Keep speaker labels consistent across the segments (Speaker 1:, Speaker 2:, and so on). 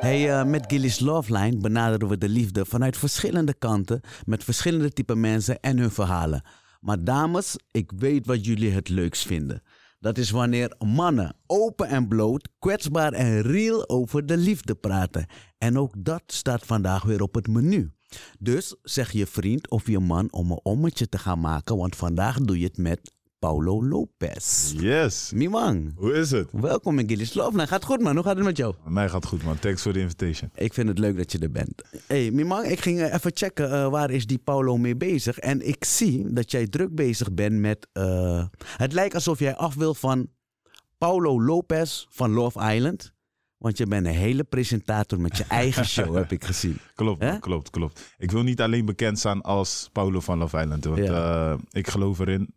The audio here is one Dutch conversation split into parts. Speaker 1: Hey, eh, met Gilly's Loveline benaderen we de liefde vanuit verschillende kanten, met verschillende type mensen en hun verhalen. Maar dames, ik weet wat jullie het leukst vinden. Dat is wanneer mannen open en bloot, kwetsbaar en real over de liefde praten. En ook dat staat vandaag weer op het menu. Dus zeg je vriend of je man om een ommetje te gaan maken, want vandaag doe je het met Paulo Lopez.
Speaker 2: Yes.
Speaker 1: Mimang,
Speaker 2: Hoe is het?
Speaker 1: welkom in Gilly's Loveline. Gaat goed man, hoe gaat het met jou?
Speaker 2: Mij gaat goed, man. Thanks voor de invitation.
Speaker 1: Ik vind het leuk dat je er bent. hey, Mimang, ik ging eh, even checken eh, waar is die Paulo mee bezig. En ik zie dat jij druk bezig bent met... eh, het lijkt alsof jij af wil van Paulo Lopez van Love Island. Want je bent een hele presentator met je eigen show, heb ik gezien.
Speaker 2: Klopt,
Speaker 1: Hè?
Speaker 2: klopt, klopt. Ik wil niet alleen bekend staan als Paulo van Love Island. Want eh, ik geloof erin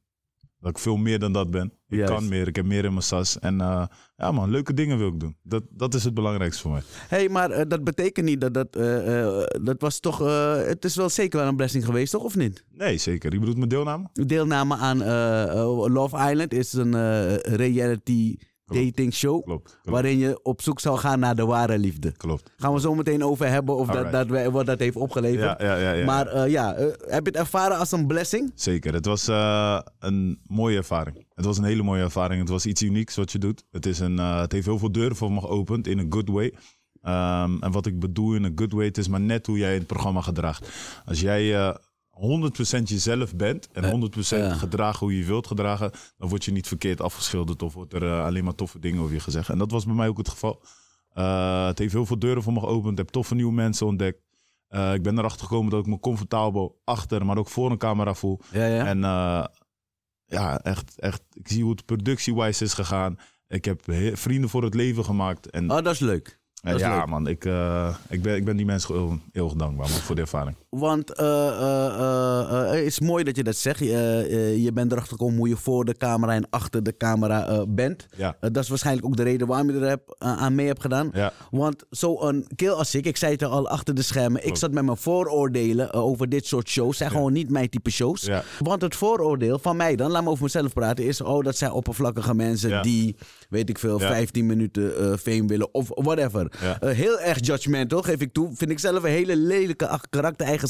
Speaker 2: dat ik veel meer dan dat ben. Ik
Speaker 1: Juist.
Speaker 2: kan meer, ik heb meer in mijn sas. En eh, ja man, leuke dingen wil ik doen. Dat, dat is het belangrijkste voor mij.
Speaker 1: hey, maar eh, dat betekent niet dat dat... eh, eh, dat was toch... eh, het is wel zeker wel een blessing geweest, toch? Of niet?
Speaker 2: Nee, zeker. Je bedoelt mijn deelname?
Speaker 1: Deelname aan eh, eh, Love Island is een eh, reality
Speaker 2: Klopt.
Speaker 1: dating show.
Speaker 2: Klopt, klopt,
Speaker 1: waarin je op zoek zou gaan naar de ware liefde.
Speaker 2: klopt.
Speaker 1: Gaan we zo meteen over hebben of dat,
Speaker 2: Alright.
Speaker 1: dat wij, wat dat heeft
Speaker 2: Ja,
Speaker 1: opgeleverd.
Speaker 2: ja, ja. ja.
Speaker 1: Maar eh, ja, eh, heb je het ervaren als een blessing?
Speaker 2: Zeker. Het was eh, een mooie ervaring. Het was een hele mooie ervaring. Het was iets unieks wat je doet. Het, is een, eh, het heeft heel veel deuren voor me geopend in een good way. Ehm, en wat ik bedoel in een good way, het is maar net hoe jij in het programma gedraagt. Als jij eh 100% jezelf bent en 100%
Speaker 1: ja.
Speaker 2: gedraagt hoe je je wilt gedragen, dan word je niet verkeerd afgeschilderd of wordt er eh, alleen maar toffe dingen over je gezegd. En dat was bij mij ook het geval. Eh, het heeft heel veel deuren voor me geopend. Ik heb toffe nieuwe mensen ontdekt. Eh, ik ben erachter gekomen dat ik me comfortabel achter, maar ook voor een camera voel.
Speaker 1: Ja, ja.
Speaker 2: En eh, ja, echt, echt. Ik zie hoe het productiewijs is gegaan. Ik heb he- vrienden voor het leven gemaakt. En
Speaker 1: Oh, dat is leuk.
Speaker 2: eh,
Speaker 1: dat is
Speaker 2: ja,
Speaker 1: leuk.
Speaker 2: man, ik, eh, ik, ben, ik ben die mensen heel, heel dankbaar man, voor de ervaring.
Speaker 1: Want eh, eh, eh, eh, het is mooi dat je dat zegt. Je, eh, je bent erachter gekomen hoe je voor de camera en achter de camera eh, bent.
Speaker 2: Ja,
Speaker 1: Eh, dat is waarschijnlijk ook de reden waarom je er heb, eh, aan mee hebt gedaan.
Speaker 2: ja,
Speaker 1: Want zo'n keel als ik, ik zei het al achter de schermen, ik
Speaker 2: Klopt.
Speaker 1: zat met mijn vooroordelen eh, over dit soort shows. Zijn gewoon niet mijn type shows.
Speaker 2: Ja.
Speaker 1: Want het vooroordeel van mij dan, laat me over mezelf praten, is: oh, dat zijn oppervlakkige mensen
Speaker 2: Ja.
Speaker 1: die, weet ik veel,
Speaker 2: Ja.
Speaker 1: 15 minuten eh fame willen of whatever.
Speaker 2: Ja.
Speaker 1: Eh, heel erg judgmental, geef ik toe. Vind ik zelf een hele lelijke ach- karaktereigenschap.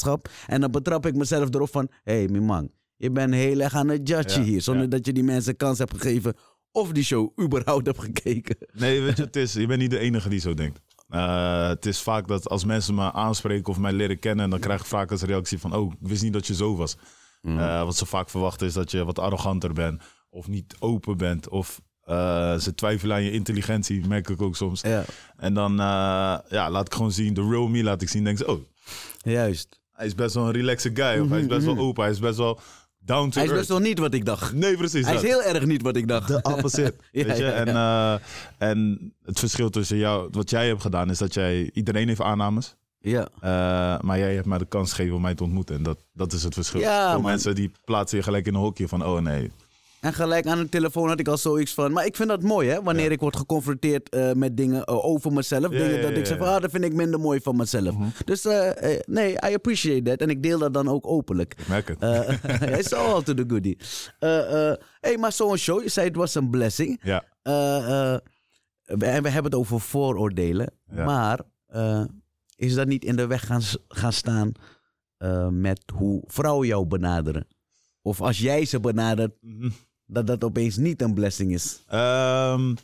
Speaker 1: En dan betrap ik mezelf erop van: hé, hey, mijn man, je bent heel erg aan het judgen
Speaker 2: Ja,
Speaker 1: hier. Zonder
Speaker 2: ja.
Speaker 1: dat je die mensen kans hebt gegeven of die show überhaupt hebt gekeken.
Speaker 2: Nee, weet je, het is, je bent niet de enige die zo denkt. Eh, het is vaak dat als mensen me aanspreken of mij leren kennen, dan krijg ik vaak als reactie van: Oh, ik wist niet dat je zo was.
Speaker 1: Mm.
Speaker 2: Eh, wat ze vaak verwachten is dat je wat arroganter bent, of niet open bent, of eh, ze twijfelen aan je intelligentie, merk ik ook soms.
Speaker 1: Ja.
Speaker 2: En dan eh, ja, laat ik gewoon zien, de real me laat ik zien. Denk ze, oh,
Speaker 1: Juist.
Speaker 2: hij is best wel een relaxed guy, of hij is best wel open, hij is best wel down to
Speaker 1: Mhm. Hij is
Speaker 2: earth.
Speaker 1: best wel niet wat ik dacht.
Speaker 2: Nee, precies.
Speaker 1: Hij
Speaker 2: dat.
Speaker 1: is heel erg niet wat ik dacht.
Speaker 2: De opposite.
Speaker 1: Ja,
Speaker 2: weet je?
Speaker 1: ja, ja.
Speaker 2: En, eh, en het verschil tussen jou, wat jij hebt gedaan, is dat jij, iedereen heeft aannames.
Speaker 1: ja.
Speaker 2: eh, maar jij hebt mij de kans gegeven om mij te ontmoeten. En dat, dat is het verschil.
Speaker 1: Ja,
Speaker 2: Veel
Speaker 1: man.
Speaker 2: mensen die plaatsen je gelijk in een hokje van, oh nee.
Speaker 1: En gelijk aan de telefoon had ik al zoiets van. Maar ik vind dat mooi, hè? Wanneer ik word geconfronteerd eh, met dingen eh, over mezelf.
Speaker 2: Ja,
Speaker 1: dingen
Speaker 2: ja,
Speaker 1: dat
Speaker 2: ja,
Speaker 1: ik zeg, van,
Speaker 2: ja. Mhm.
Speaker 1: ah, dat vind ik minder mooi van mezelf. Dus eh, eh, nee, I appreciate that. En ik deel dat dan ook openlijk.
Speaker 2: Ik merk het.
Speaker 1: Eh, it's all to the goodie. Eh, eh, hey, maar zo'n show, je zei het was een blessing.
Speaker 2: ja,
Speaker 1: Eh, eh, we- en we hebben het over vooroordelen.
Speaker 2: Ja.
Speaker 1: Maar eh, is dat niet in de weg gaan, s- gaan staan eh, met hoe vrouwen jou benaderen? Of als jij ze benadert,
Speaker 2: Mhm.
Speaker 1: dat dat opeens niet een blessing is?
Speaker 2: Ehm,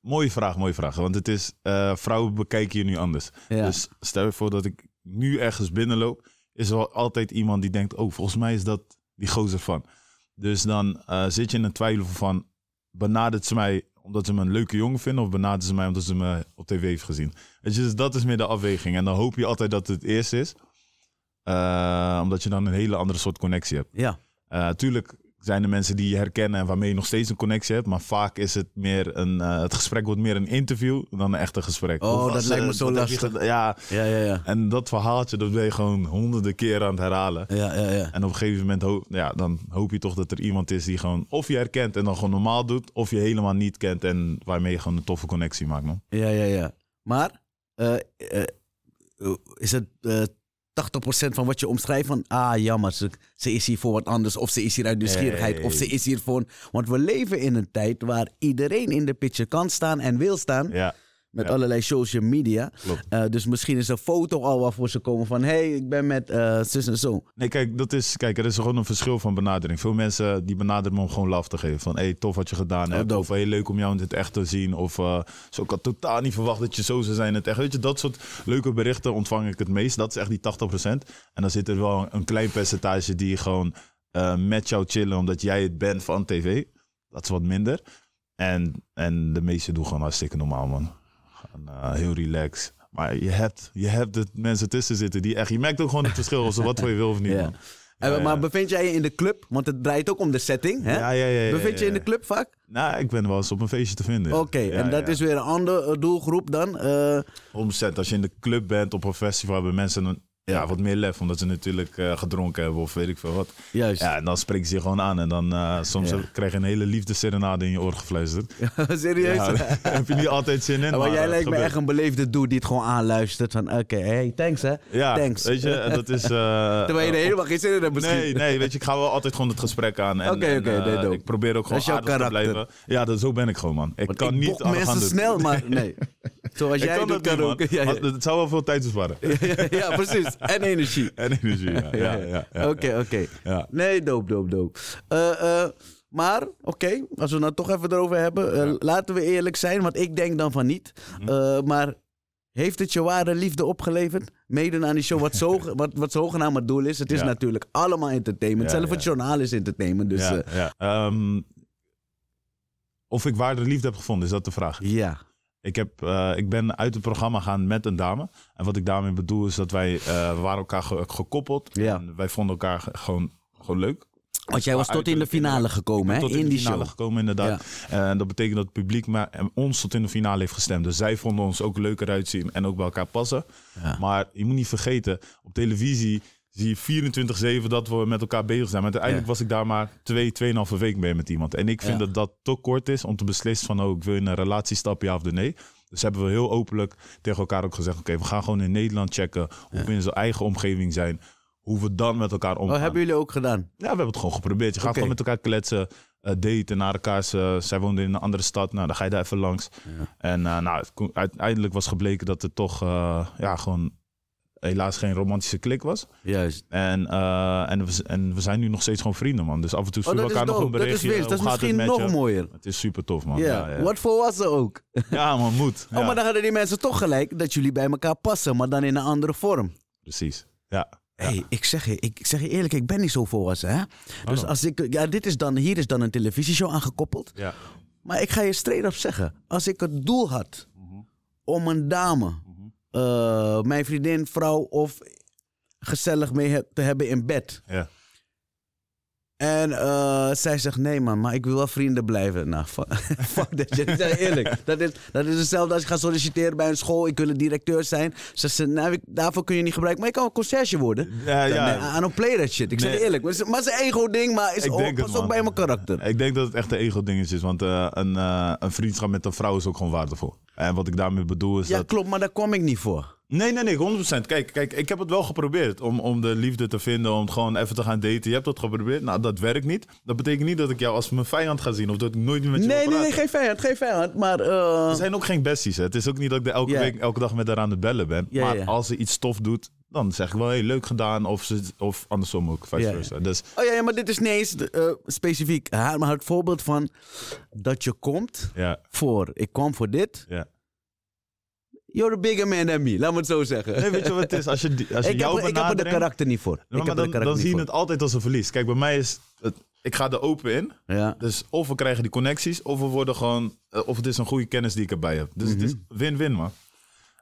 Speaker 2: mooie vraag, mooie vraag. Want het is, eh, vrouwen bekijken je nu anders.
Speaker 1: Ja.
Speaker 2: Dus stel je voor dat ik nu ergens binnenloop, is er wel altijd iemand die denkt, oh, volgens mij is dat die gozer van. Dus dan eh, zit je in een twijfel van, benadert ze mij omdat ze me een leuke jongen vinden of benadert ze mij omdat ze me op tv heeft gezien? Weet je, dus dat is meer de afweging. En dan hoop je altijd dat het het eerste is, eh, omdat je dan een hele andere soort connectie hebt.
Speaker 1: ja.
Speaker 2: Eh, tuurlijk zijn er mensen die je herkennen en waarmee je nog steeds een connectie hebt. Maar vaak is het meer een. eh, het gesprek wordt meer een interview dan een echte gesprek.
Speaker 1: Oh, dat
Speaker 2: als,
Speaker 1: lijkt me
Speaker 2: eh,
Speaker 1: zo
Speaker 2: wat heb je
Speaker 1: lastig.
Speaker 2: gedaan? Ja,
Speaker 1: Ja, ja, ja.
Speaker 2: en dat verhaaltje dat ben je gewoon honderden keren aan het herhalen.
Speaker 1: Ja, ja, ja.
Speaker 2: En op een gegeven moment ho- ja, dan hoop je toch dat er iemand is die gewoon of je herkent en dan gewoon normaal doet. Of je helemaal niet kent en waarmee je gewoon een toffe connectie maakt, man.
Speaker 1: ja, ja, ja. Maar eh, eh, is het eh 80% van wat je omschrijft van... Ah, jammer, ze, ze is hier voor wat anders. Of ze is hier uit nieuwsgierigheid. Of ze
Speaker 2: Nee.
Speaker 1: is hier voor... Want we leven in een tijd waar iedereen in de picture kan staan en wil staan.
Speaker 2: Ja,
Speaker 1: Met
Speaker 2: Ja.
Speaker 1: allerlei social media.
Speaker 2: Klopt.
Speaker 1: Eh, dus misschien is een foto al waarvoor ze komen van... hé, hey, ik ben met eh, zus en zo.
Speaker 2: Nee, kijk, dat is, kijk, er is gewoon een verschil van benadering. Veel mensen die benaderen me om gewoon laf te geven. Van, hé, hey, tof wat je gedaan hebt.
Speaker 1: dope.
Speaker 2: Of, hey, leuk om jou in het echt te zien. Of, eh, zo, ik had totaal niet verwacht dat je zo zou zijn in het echt. Weet je, dat soort leuke berichten ontvang ik het meest. Dat is echt die 80%. En dan zit er wel een klein percentage die gewoon eh, met jou chillen... omdat jij het bent van tv. Dat is wat minder. En, en de meeste doen gewoon hartstikke normaal, man. Gewoon, eh, heel relaxed. Maar je hebt, je hebt de mensen tussen zitten die echt... Je merkt ook gewoon het verschil of ze wat voor je wil of niet,
Speaker 1: Ja.
Speaker 2: man.
Speaker 1: En,
Speaker 2: ja.
Speaker 1: Eh, Maar bevind jij je in de club? Want het draait ook om de setting, hè?
Speaker 2: Ja, ja, ja. ja,
Speaker 1: Bevind je in
Speaker 2: ja.
Speaker 1: de club vaak?
Speaker 2: Nou, ik ben wel eens op een feestje te vinden.
Speaker 1: Oké,
Speaker 2: Ja,
Speaker 1: en dat
Speaker 2: ja.
Speaker 1: is weer een andere doelgroep dan. eh,
Speaker 2: Omzet, als je in de club bent op een festival, hebben mensen een, ja, wat meer lef. Omdat ze natuurlijk eh, gedronken hebben of weet ik veel wat.
Speaker 1: juist.
Speaker 2: Ja, en dan spreken ze je gewoon aan. En dan eh, soms
Speaker 1: Ja.
Speaker 2: heb- krijg je een hele liefdeserenade in je oor gefluisterd.
Speaker 1: Serieus.
Speaker 2: Ja, daar heb je niet altijd zin in.
Speaker 1: maar, jij
Speaker 2: eh,
Speaker 1: lijkt me
Speaker 2: gebeurt.
Speaker 1: echt een beleefde dude die het gewoon aanluistert. Van oké, hey, thanks hè.
Speaker 2: Ja,
Speaker 1: Thanks.
Speaker 2: weet je, en dat is... eh,
Speaker 1: Terwijl je er
Speaker 2: eh,
Speaker 1: helemaal geen zin in hebt misschien.
Speaker 2: Nee, nee, weet je, ik ga wel altijd gewoon het gesprek aan. En-
Speaker 1: Oké,
Speaker 2: en,
Speaker 1: oké, nee,
Speaker 2: eh,
Speaker 1: dope.
Speaker 2: Ik probeer ook gewoon
Speaker 1: is jouw
Speaker 2: aardig te
Speaker 1: karakter.
Speaker 2: blijven. Ja, dat, zo ben ik gewoon, man. Ik
Speaker 1: Want
Speaker 2: kan
Speaker 1: ik
Speaker 2: niet
Speaker 1: bok
Speaker 2: aan de
Speaker 1: mensen
Speaker 2: gang doen.
Speaker 1: snel, maar nee. Zoals
Speaker 2: Ik
Speaker 1: jij
Speaker 2: kan
Speaker 1: doet,
Speaker 2: dat
Speaker 1: kan
Speaker 2: niet, man.
Speaker 1: ook. Ja, ja,
Speaker 2: Want Het zou wel veel tijd besparen.
Speaker 1: ja, ja, precies. En energie.
Speaker 2: En energie, ja. ja, ja, ja, ja.
Speaker 1: Oké, oké.
Speaker 2: Ja.
Speaker 1: Nee, doop, doop, doop. Eh, eh, maar, oké, als we het nou toch even erover hebben. eh, Laten we eerlijk zijn, want ik denk dan van niet.
Speaker 2: Mhm.
Speaker 1: Eh, maar heeft het je ware liefde opgeleverd? Meedoen aan die show, wat, zo, wat, wat zogenaamd het doel is. Het is
Speaker 2: Ja.
Speaker 1: natuurlijk allemaal entertainment.
Speaker 2: Ja,
Speaker 1: Zelf
Speaker 2: ja.
Speaker 1: het journaal is entertainment. Dus ja.
Speaker 2: ja, ja. Ehm, of ik waarde liefde heb gevonden, is dat de vraag.
Speaker 1: ja.
Speaker 2: Ik, heb, eh, ik ben uit het programma gaan met een dame. En wat ik daarmee bedoel is dat wij eh, we waren elkaar ge- gekoppeld.
Speaker 1: Ja.
Speaker 2: En wij vonden elkaar ge- gewoon, gewoon leuk.
Speaker 1: Want jij was
Speaker 2: Maar
Speaker 1: tot in de
Speaker 2: uiterlijk
Speaker 1: finale gekomen, hè?
Speaker 2: eh, Tot
Speaker 1: In,
Speaker 2: in de
Speaker 1: die
Speaker 2: finale
Speaker 1: show.
Speaker 2: gekomen, inderdaad. Eh, En dat betekent dat het publiek maar, en ons tot in de finale heeft gestemd. Dus zij vonden ons ook leuker uitzien en ook bij elkaar passen.
Speaker 1: Ja.
Speaker 2: Maar je moet niet vergeten, op televisie zie je 24-7 dat we met elkaar bezig zijn. Maar uiteindelijk
Speaker 1: Ja.
Speaker 2: was ik daar maar twee, tweeënhalve week mee met iemand. En ik
Speaker 1: Ja.
Speaker 2: vind dat dat te kort is om te beslissen van... oh, ik wil in een relatie stappen, ja of nee. Dus hebben we heel openlijk tegen elkaar ook gezegd... oké, we gaan gewoon in Nederland checken hoe we in zijn eigen omgeving zijn... hoe we dan met elkaar omgaan.
Speaker 1: Oh, hebben jullie ook gedaan?
Speaker 2: Ja, we hebben het gewoon geprobeerd. Je gaat
Speaker 1: Oké.
Speaker 2: gewoon met elkaar kletsen, eh, daten, naar elkaar. Ze, zij woonde in een andere stad, nou, dan ga je daar even langs. En eh, nou, het kon- uiteindelijk was gebleken dat het toch eh, ja, gewoon helaas geen romantische klik was.
Speaker 1: Juist.
Speaker 2: En, eh, en, we, z- en we zijn nu nog steeds gewoon vrienden, man. Dus af en toe
Speaker 1: Oh,
Speaker 2: sturen
Speaker 1: dat
Speaker 2: we
Speaker 1: is
Speaker 2: elkaar nog een
Speaker 1: dope. Dat is
Speaker 2: berichtje.
Speaker 1: winst. Dat is
Speaker 2: hoe gaat het
Speaker 1: misschien
Speaker 2: met
Speaker 1: nog
Speaker 2: je?
Speaker 1: mooier.
Speaker 2: Het is super tof, man. Ja,
Speaker 1: Ja.
Speaker 2: ja.
Speaker 1: Wat voor was ze ook?
Speaker 2: Ja, man, moet.
Speaker 1: Oh,
Speaker 2: Ja,
Speaker 1: maar dan hadden die mensen toch gelijk dat jullie bij elkaar passen, maar dan in een andere vorm.
Speaker 2: Precies. Ja. Oh.
Speaker 1: Hé, hey, ik, zeg je- ik ik zeg je eerlijk, ik ben niet zo volwassen, hè? Dus
Speaker 2: dan.
Speaker 1: als ik, ja, dit is dan, hier is dan een televisieshow aangekoppeld.
Speaker 2: ja.
Speaker 1: Maar ik ga je straight op zeggen, als ik het doel had om een dame, eh, mijn vriendin, vrouw of gezellig mee he- te hebben in bed.
Speaker 2: Ja.
Speaker 1: En eh, zij zegt, nee man, maar ik wil wel vrienden blijven. Nou, fuck, fuck dat shit. Ik zeg je eerlijk. Dat is, dat is hetzelfde als je gaat solliciteren bij een school. Ik wil een directeur zijn. Ze zegt, nou, ik- daarvoor kun je niet gebruiken. Maar ik kan een conciërge worden.
Speaker 2: Ja, ja.
Speaker 1: Nee, I don't play that shit. Ik zeg
Speaker 2: Nee.
Speaker 1: je eerlijk. Maar het is- maar het is een ego-ding, maar is
Speaker 2: Ik
Speaker 1: ook,
Speaker 2: denk het,
Speaker 1: past ook
Speaker 2: man.
Speaker 1: bij mijn karakter.
Speaker 2: Ik denk dat het echt een ego-dingetje is. Want eh, een, eh, een vriendschap met een vrouw is ook gewoon waardevol. En wat ik daarmee bedoel is
Speaker 1: Ja,
Speaker 2: dat...
Speaker 1: klopt, maar daar kwam ik niet voor.
Speaker 2: Nee, nee, nee, 100%. Kijk, kijk ik heb het wel geprobeerd om, om de liefde te vinden, om gewoon even te gaan daten. Je hebt dat geprobeerd. Nou, dat werkt niet. Dat betekent niet dat ik jou als mijn vijand ga zien of dat ik nooit meer met je wil
Speaker 1: Nee, nee,
Speaker 2: praten.
Speaker 1: nee, geen vijand, geen vijand. Maar eh,
Speaker 2: We zijn ook geen besties. Hè. Het is ook niet dat ik er elke
Speaker 1: Ja.
Speaker 2: week, elke dag met haar aan de bellen ben.
Speaker 1: Ja,
Speaker 2: maar
Speaker 1: ja.
Speaker 2: als ze iets stof doet, dan zeg ik wel, hey, leuk gedaan. Of, ze, of andersom ook, vice
Speaker 1: Ja, ja.
Speaker 2: versa. Dus
Speaker 1: oh ja, ja, maar dit is niet eens eh, specifiek haar, maar het voorbeeld van dat je komt
Speaker 2: ja,
Speaker 1: voor, ik kwam voor dit.
Speaker 2: ja.
Speaker 1: You're a bigger man than me, laat me het zo zeggen.
Speaker 2: Nee, weet je wat het is? Als je, die- als je
Speaker 1: ik, heb,
Speaker 2: jouw
Speaker 1: er- ik heb er de
Speaker 2: benadering...
Speaker 1: karakter niet voor.
Speaker 2: Ja,
Speaker 1: ik
Speaker 2: maar
Speaker 1: heb er
Speaker 2: dan,
Speaker 1: de karakter
Speaker 2: dan zie je
Speaker 1: niet
Speaker 2: het altijd als een verlies. Kijk, bij mij is het, ik ga er open in.
Speaker 1: voor. Ja.
Speaker 2: Dus of we krijgen die connecties, of we worden gewoon, eh, of het is een goede kennis die ik erbij heb. Dus het is win-win, man.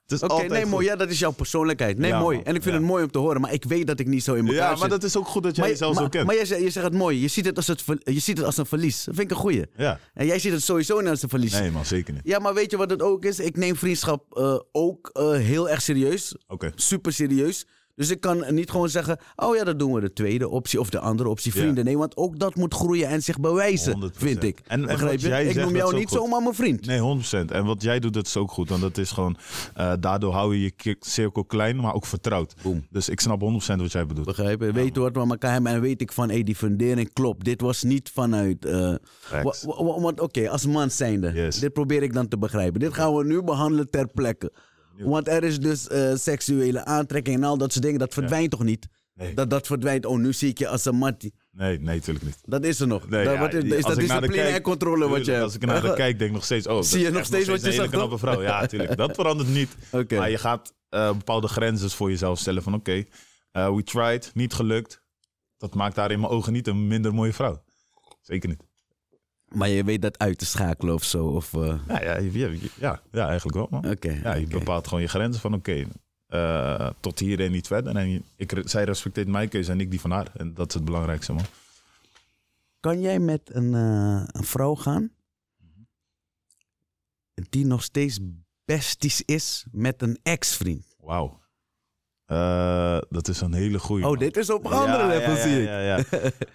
Speaker 2: Het is
Speaker 1: Mhm. Oké,
Speaker 2: altijd
Speaker 1: nee,
Speaker 2: goed.
Speaker 1: mooi. Ja, dat is jouw persoonlijkheid. Nee,
Speaker 2: Ja,
Speaker 1: mooi.
Speaker 2: man,
Speaker 1: En ik vind
Speaker 2: ja.
Speaker 1: het mooi om te horen, maar ik weet dat ik niet zo in elkaar
Speaker 2: Ja,
Speaker 1: zit.
Speaker 2: maar dat is ook goed dat jij
Speaker 1: Maar-
Speaker 2: jezelf
Speaker 1: maar,
Speaker 2: zo kent.
Speaker 1: Maar jij, zegt- je zegt het mooi. Je ziet het als, het, ver- je ziet het als een verlies. Dat vind ik een goeie.
Speaker 2: Ja.
Speaker 1: En jij ziet het sowieso niet als een verlies.
Speaker 2: Nee, man, zeker niet.
Speaker 1: Ja, maar weet je wat het ook is? Ik neem vriendschap eh, ook eh, heel erg serieus.
Speaker 2: Oké.
Speaker 1: Super serieus. Dus ik kan niet gewoon zeggen, oh ja, dat doen we de tweede optie of de andere optie,
Speaker 2: Ja.
Speaker 1: vrienden. Nee, want ook dat moet groeien en zich bewijzen,
Speaker 2: 100%.
Speaker 1: vind ik.
Speaker 2: En- en
Speaker 1: Begrijp
Speaker 2: wat
Speaker 1: je?
Speaker 2: jij
Speaker 1: Ik
Speaker 2: zegt,
Speaker 1: noem
Speaker 2: dat
Speaker 1: jou
Speaker 2: is ook
Speaker 1: niet
Speaker 2: goed.
Speaker 1: zomaar mijn vriend.
Speaker 2: Nee, 100%. En wat jij doet, dat is ook goed. Want dat is gewoon, eh, daardoor hou je je ki- cirkel klein, maar ook vertrouwd.
Speaker 1: Boom.
Speaker 2: Dus ik snap 100% wat jij bedoelt.
Speaker 1: Begrijp je? Weet wat we aan elkaar hebben en weet ik van, hey, die fundering klopt. Dit was niet vanuit... eh, wa-
Speaker 2: Facts.
Speaker 1: wa- wa- Want oké, als man zijnde,
Speaker 2: Yes.
Speaker 1: dit probeer ik dan te begrijpen. Dit gaan we nu behandelen ter plekke. Want er is dus eh, seksuele aantrekking en al dat soort dingen. Dat verdwijnt toch niet?
Speaker 2: Nee.
Speaker 1: Dat, dat verdwijnt. Oh, nu zie ik je als een mattie.
Speaker 2: Nee, nee, natuurlijk niet.
Speaker 1: Dat is er nog.
Speaker 2: Nee,
Speaker 1: dat,
Speaker 2: ja,
Speaker 1: wat is, is
Speaker 2: als
Speaker 1: dat
Speaker 2: ik naar de
Speaker 1: discipline
Speaker 2: kijk-
Speaker 1: en controle wat
Speaker 2: tuurlijk,
Speaker 1: je hebt?
Speaker 2: Als ik naar de
Speaker 1: Echt?
Speaker 2: kijk, denk ik nog steeds... Oh, dat
Speaker 1: Zie je
Speaker 2: is
Speaker 1: nog
Speaker 2: echt
Speaker 1: steeds wat je
Speaker 2: een hele
Speaker 1: zegt,
Speaker 2: knappe
Speaker 1: toch?
Speaker 2: vrouw. Ja, natuurlijk. Dat verandert niet.
Speaker 1: Oké.
Speaker 2: Maar je gaat eh, bepaalde grenzen voor jezelf stellen van... Oké, eh, we tried, niet gelukt. Dat maakt haar in mijn ogen niet een minder mooie vrouw. Zeker niet.
Speaker 1: Maar je weet dat uit te schakelen of zo? Of, eh, Oké.
Speaker 2: Ja, ja, je- je- ja, ja eigenlijk wel, man. Ja, je
Speaker 1: oké.
Speaker 2: bepaalt gewoon je grenzen van oké, eh, tot hier en niet verder. En je- ik, re- zij respecteert mijn keuze en ik die van haar. En dat is het belangrijkste, man.
Speaker 1: Kan jij met een, eh, een vrouw gaan die nog steeds besties is met een ex-vriend?
Speaker 2: Wauw. Eh, dat is een hele goeie.
Speaker 1: Oh,
Speaker 2: man.
Speaker 1: dit is op een andere
Speaker 2: Ja,
Speaker 1: level,
Speaker 2: ja, ja,
Speaker 1: zie ik.
Speaker 2: Ja,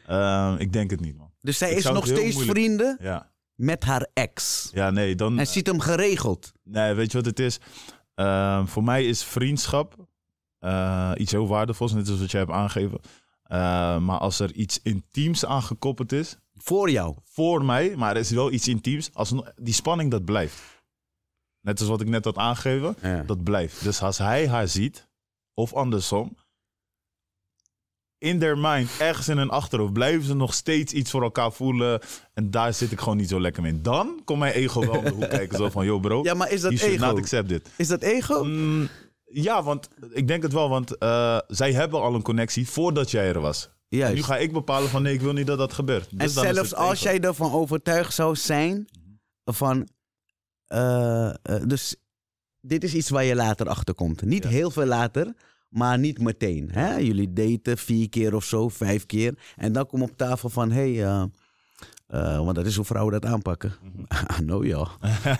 Speaker 2: ja. Ehm, ik denk het niet, man.
Speaker 1: Dus zij
Speaker 2: Ik
Speaker 1: is
Speaker 2: zou
Speaker 1: nog
Speaker 2: het heel
Speaker 1: steeds
Speaker 2: moeilijk-
Speaker 1: vrienden
Speaker 2: Ja,
Speaker 1: met haar ex.
Speaker 2: ja nee, dan...
Speaker 1: En ziet hem geregeld.
Speaker 2: Nee, weet je wat het is? Ehm, voor mij is vriendschap eh, iets heel waardevols. Net als wat jij hebt aangegeven. Eh, maar als er iets intiems aan gekoppeld is...
Speaker 1: Voor jou.
Speaker 2: voor mij, maar er is wel iets intiems. Als die spanning, dat blijft. Net als wat ik net had aangegeven, dat blijft. Dus als hij haar ziet, of andersom, in their mind, ergens in hun achterhoofd, blijven ze nog steeds iets voor elkaar voelen. En daar zit ik gewoon niet zo lekker mee. Dan komt mijn ego wel om de hoek kijken, zo van, yo bro,
Speaker 1: Ja, maar is dat
Speaker 2: you should
Speaker 1: ego? Oh.
Speaker 2: not accept dit.
Speaker 1: Is dat ego?
Speaker 2: Mm, ja, want ik denk het wel, want eh, zij hebben al een connectie voordat jij er was.
Speaker 1: Juist.
Speaker 2: Nu ga ik bepalen van, nee, ik wil niet dat dat gebeurt. Dus
Speaker 1: En
Speaker 2: dan is
Speaker 1: zelfs
Speaker 2: het
Speaker 1: als
Speaker 2: ego.
Speaker 1: jij ervan overtuigd zou zijn van. eh, eh, dus dit is iets waar je later achter komt. Niet
Speaker 2: Ja.
Speaker 1: heel veel later, maar niet meteen. Hè? Jullie daten vier keer of zo, vijf keer. En dan kom op tafel van: hé, hey, eh, eh, want dat is hoe vrouwen dat aanpakken.
Speaker 2: Mhm.
Speaker 1: Ah, nou ja. Eh,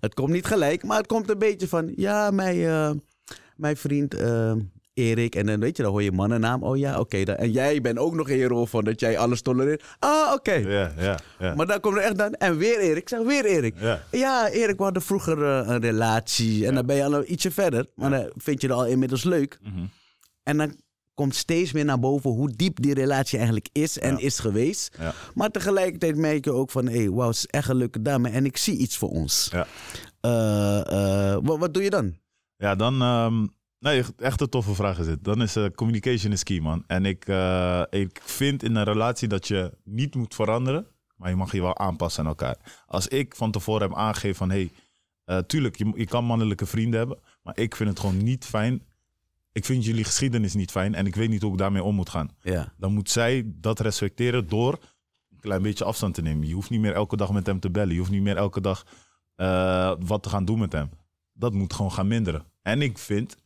Speaker 1: het komt niet gelijk, maar het komt een beetje van... Ja, mijn, eh, mijn vriend eh, Erik. En dan weet je, dan hoor je mannennaam. Oh ja, oké. dan- en jij bent ook nog in je rol van dat jij alles tolereert. Ah, oké.
Speaker 2: Ja, ja, ja.
Speaker 1: Maar dan komt er echt dan... En weer Erik. Ik zeg weer Erik.
Speaker 2: Ja.
Speaker 1: Ja, Erik, we hadden vroeger eh, een relatie. En dan ben je al ietsje verder. Maar dan vind je het al inmiddels leuk.
Speaker 2: Mhm.
Speaker 1: En dan komt steeds meer naar boven hoe diep die relatie eigenlijk is en
Speaker 2: Ja.
Speaker 1: is geweest.
Speaker 2: Ja.
Speaker 1: Maar tegelijkertijd merk je ook van... Hé, wauw, het is echt een leuke dame. En ik zie iets voor ons.
Speaker 2: Ja.
Speaker 1: Eh, eh, wa- wat doe je dan?
Speaker 2: Ja, dan. ehm, nee, echt een toffe vraag is dit. Dan is eh, communication is key, man. En ik, eh, ik vind in een relatie dat je niet moet veranderen, maar je mag je wel aanpassen aan elkaar. Als ik van tevoren heb aangegeven van, hé, hey, eh, tuurlijk, je, je kan mannelijke vrienden hebben, maar ik vind het gewoon niet fijn. Ik vind jullie geschiedenis niet fijn en ik weet niet hoe ik daarmee om moet gaan.
Speaker 1: Ja.
Speaker 2: Dan moet zij dat respecteren door een klein beetje afstand te nemen. Je hoeft niet meer elke dag met hem te bellen. Je hoeft niet meer elke dag eh, wat te gaan doen met hem. Dat moet gewoon gaan minderen. En ik vind,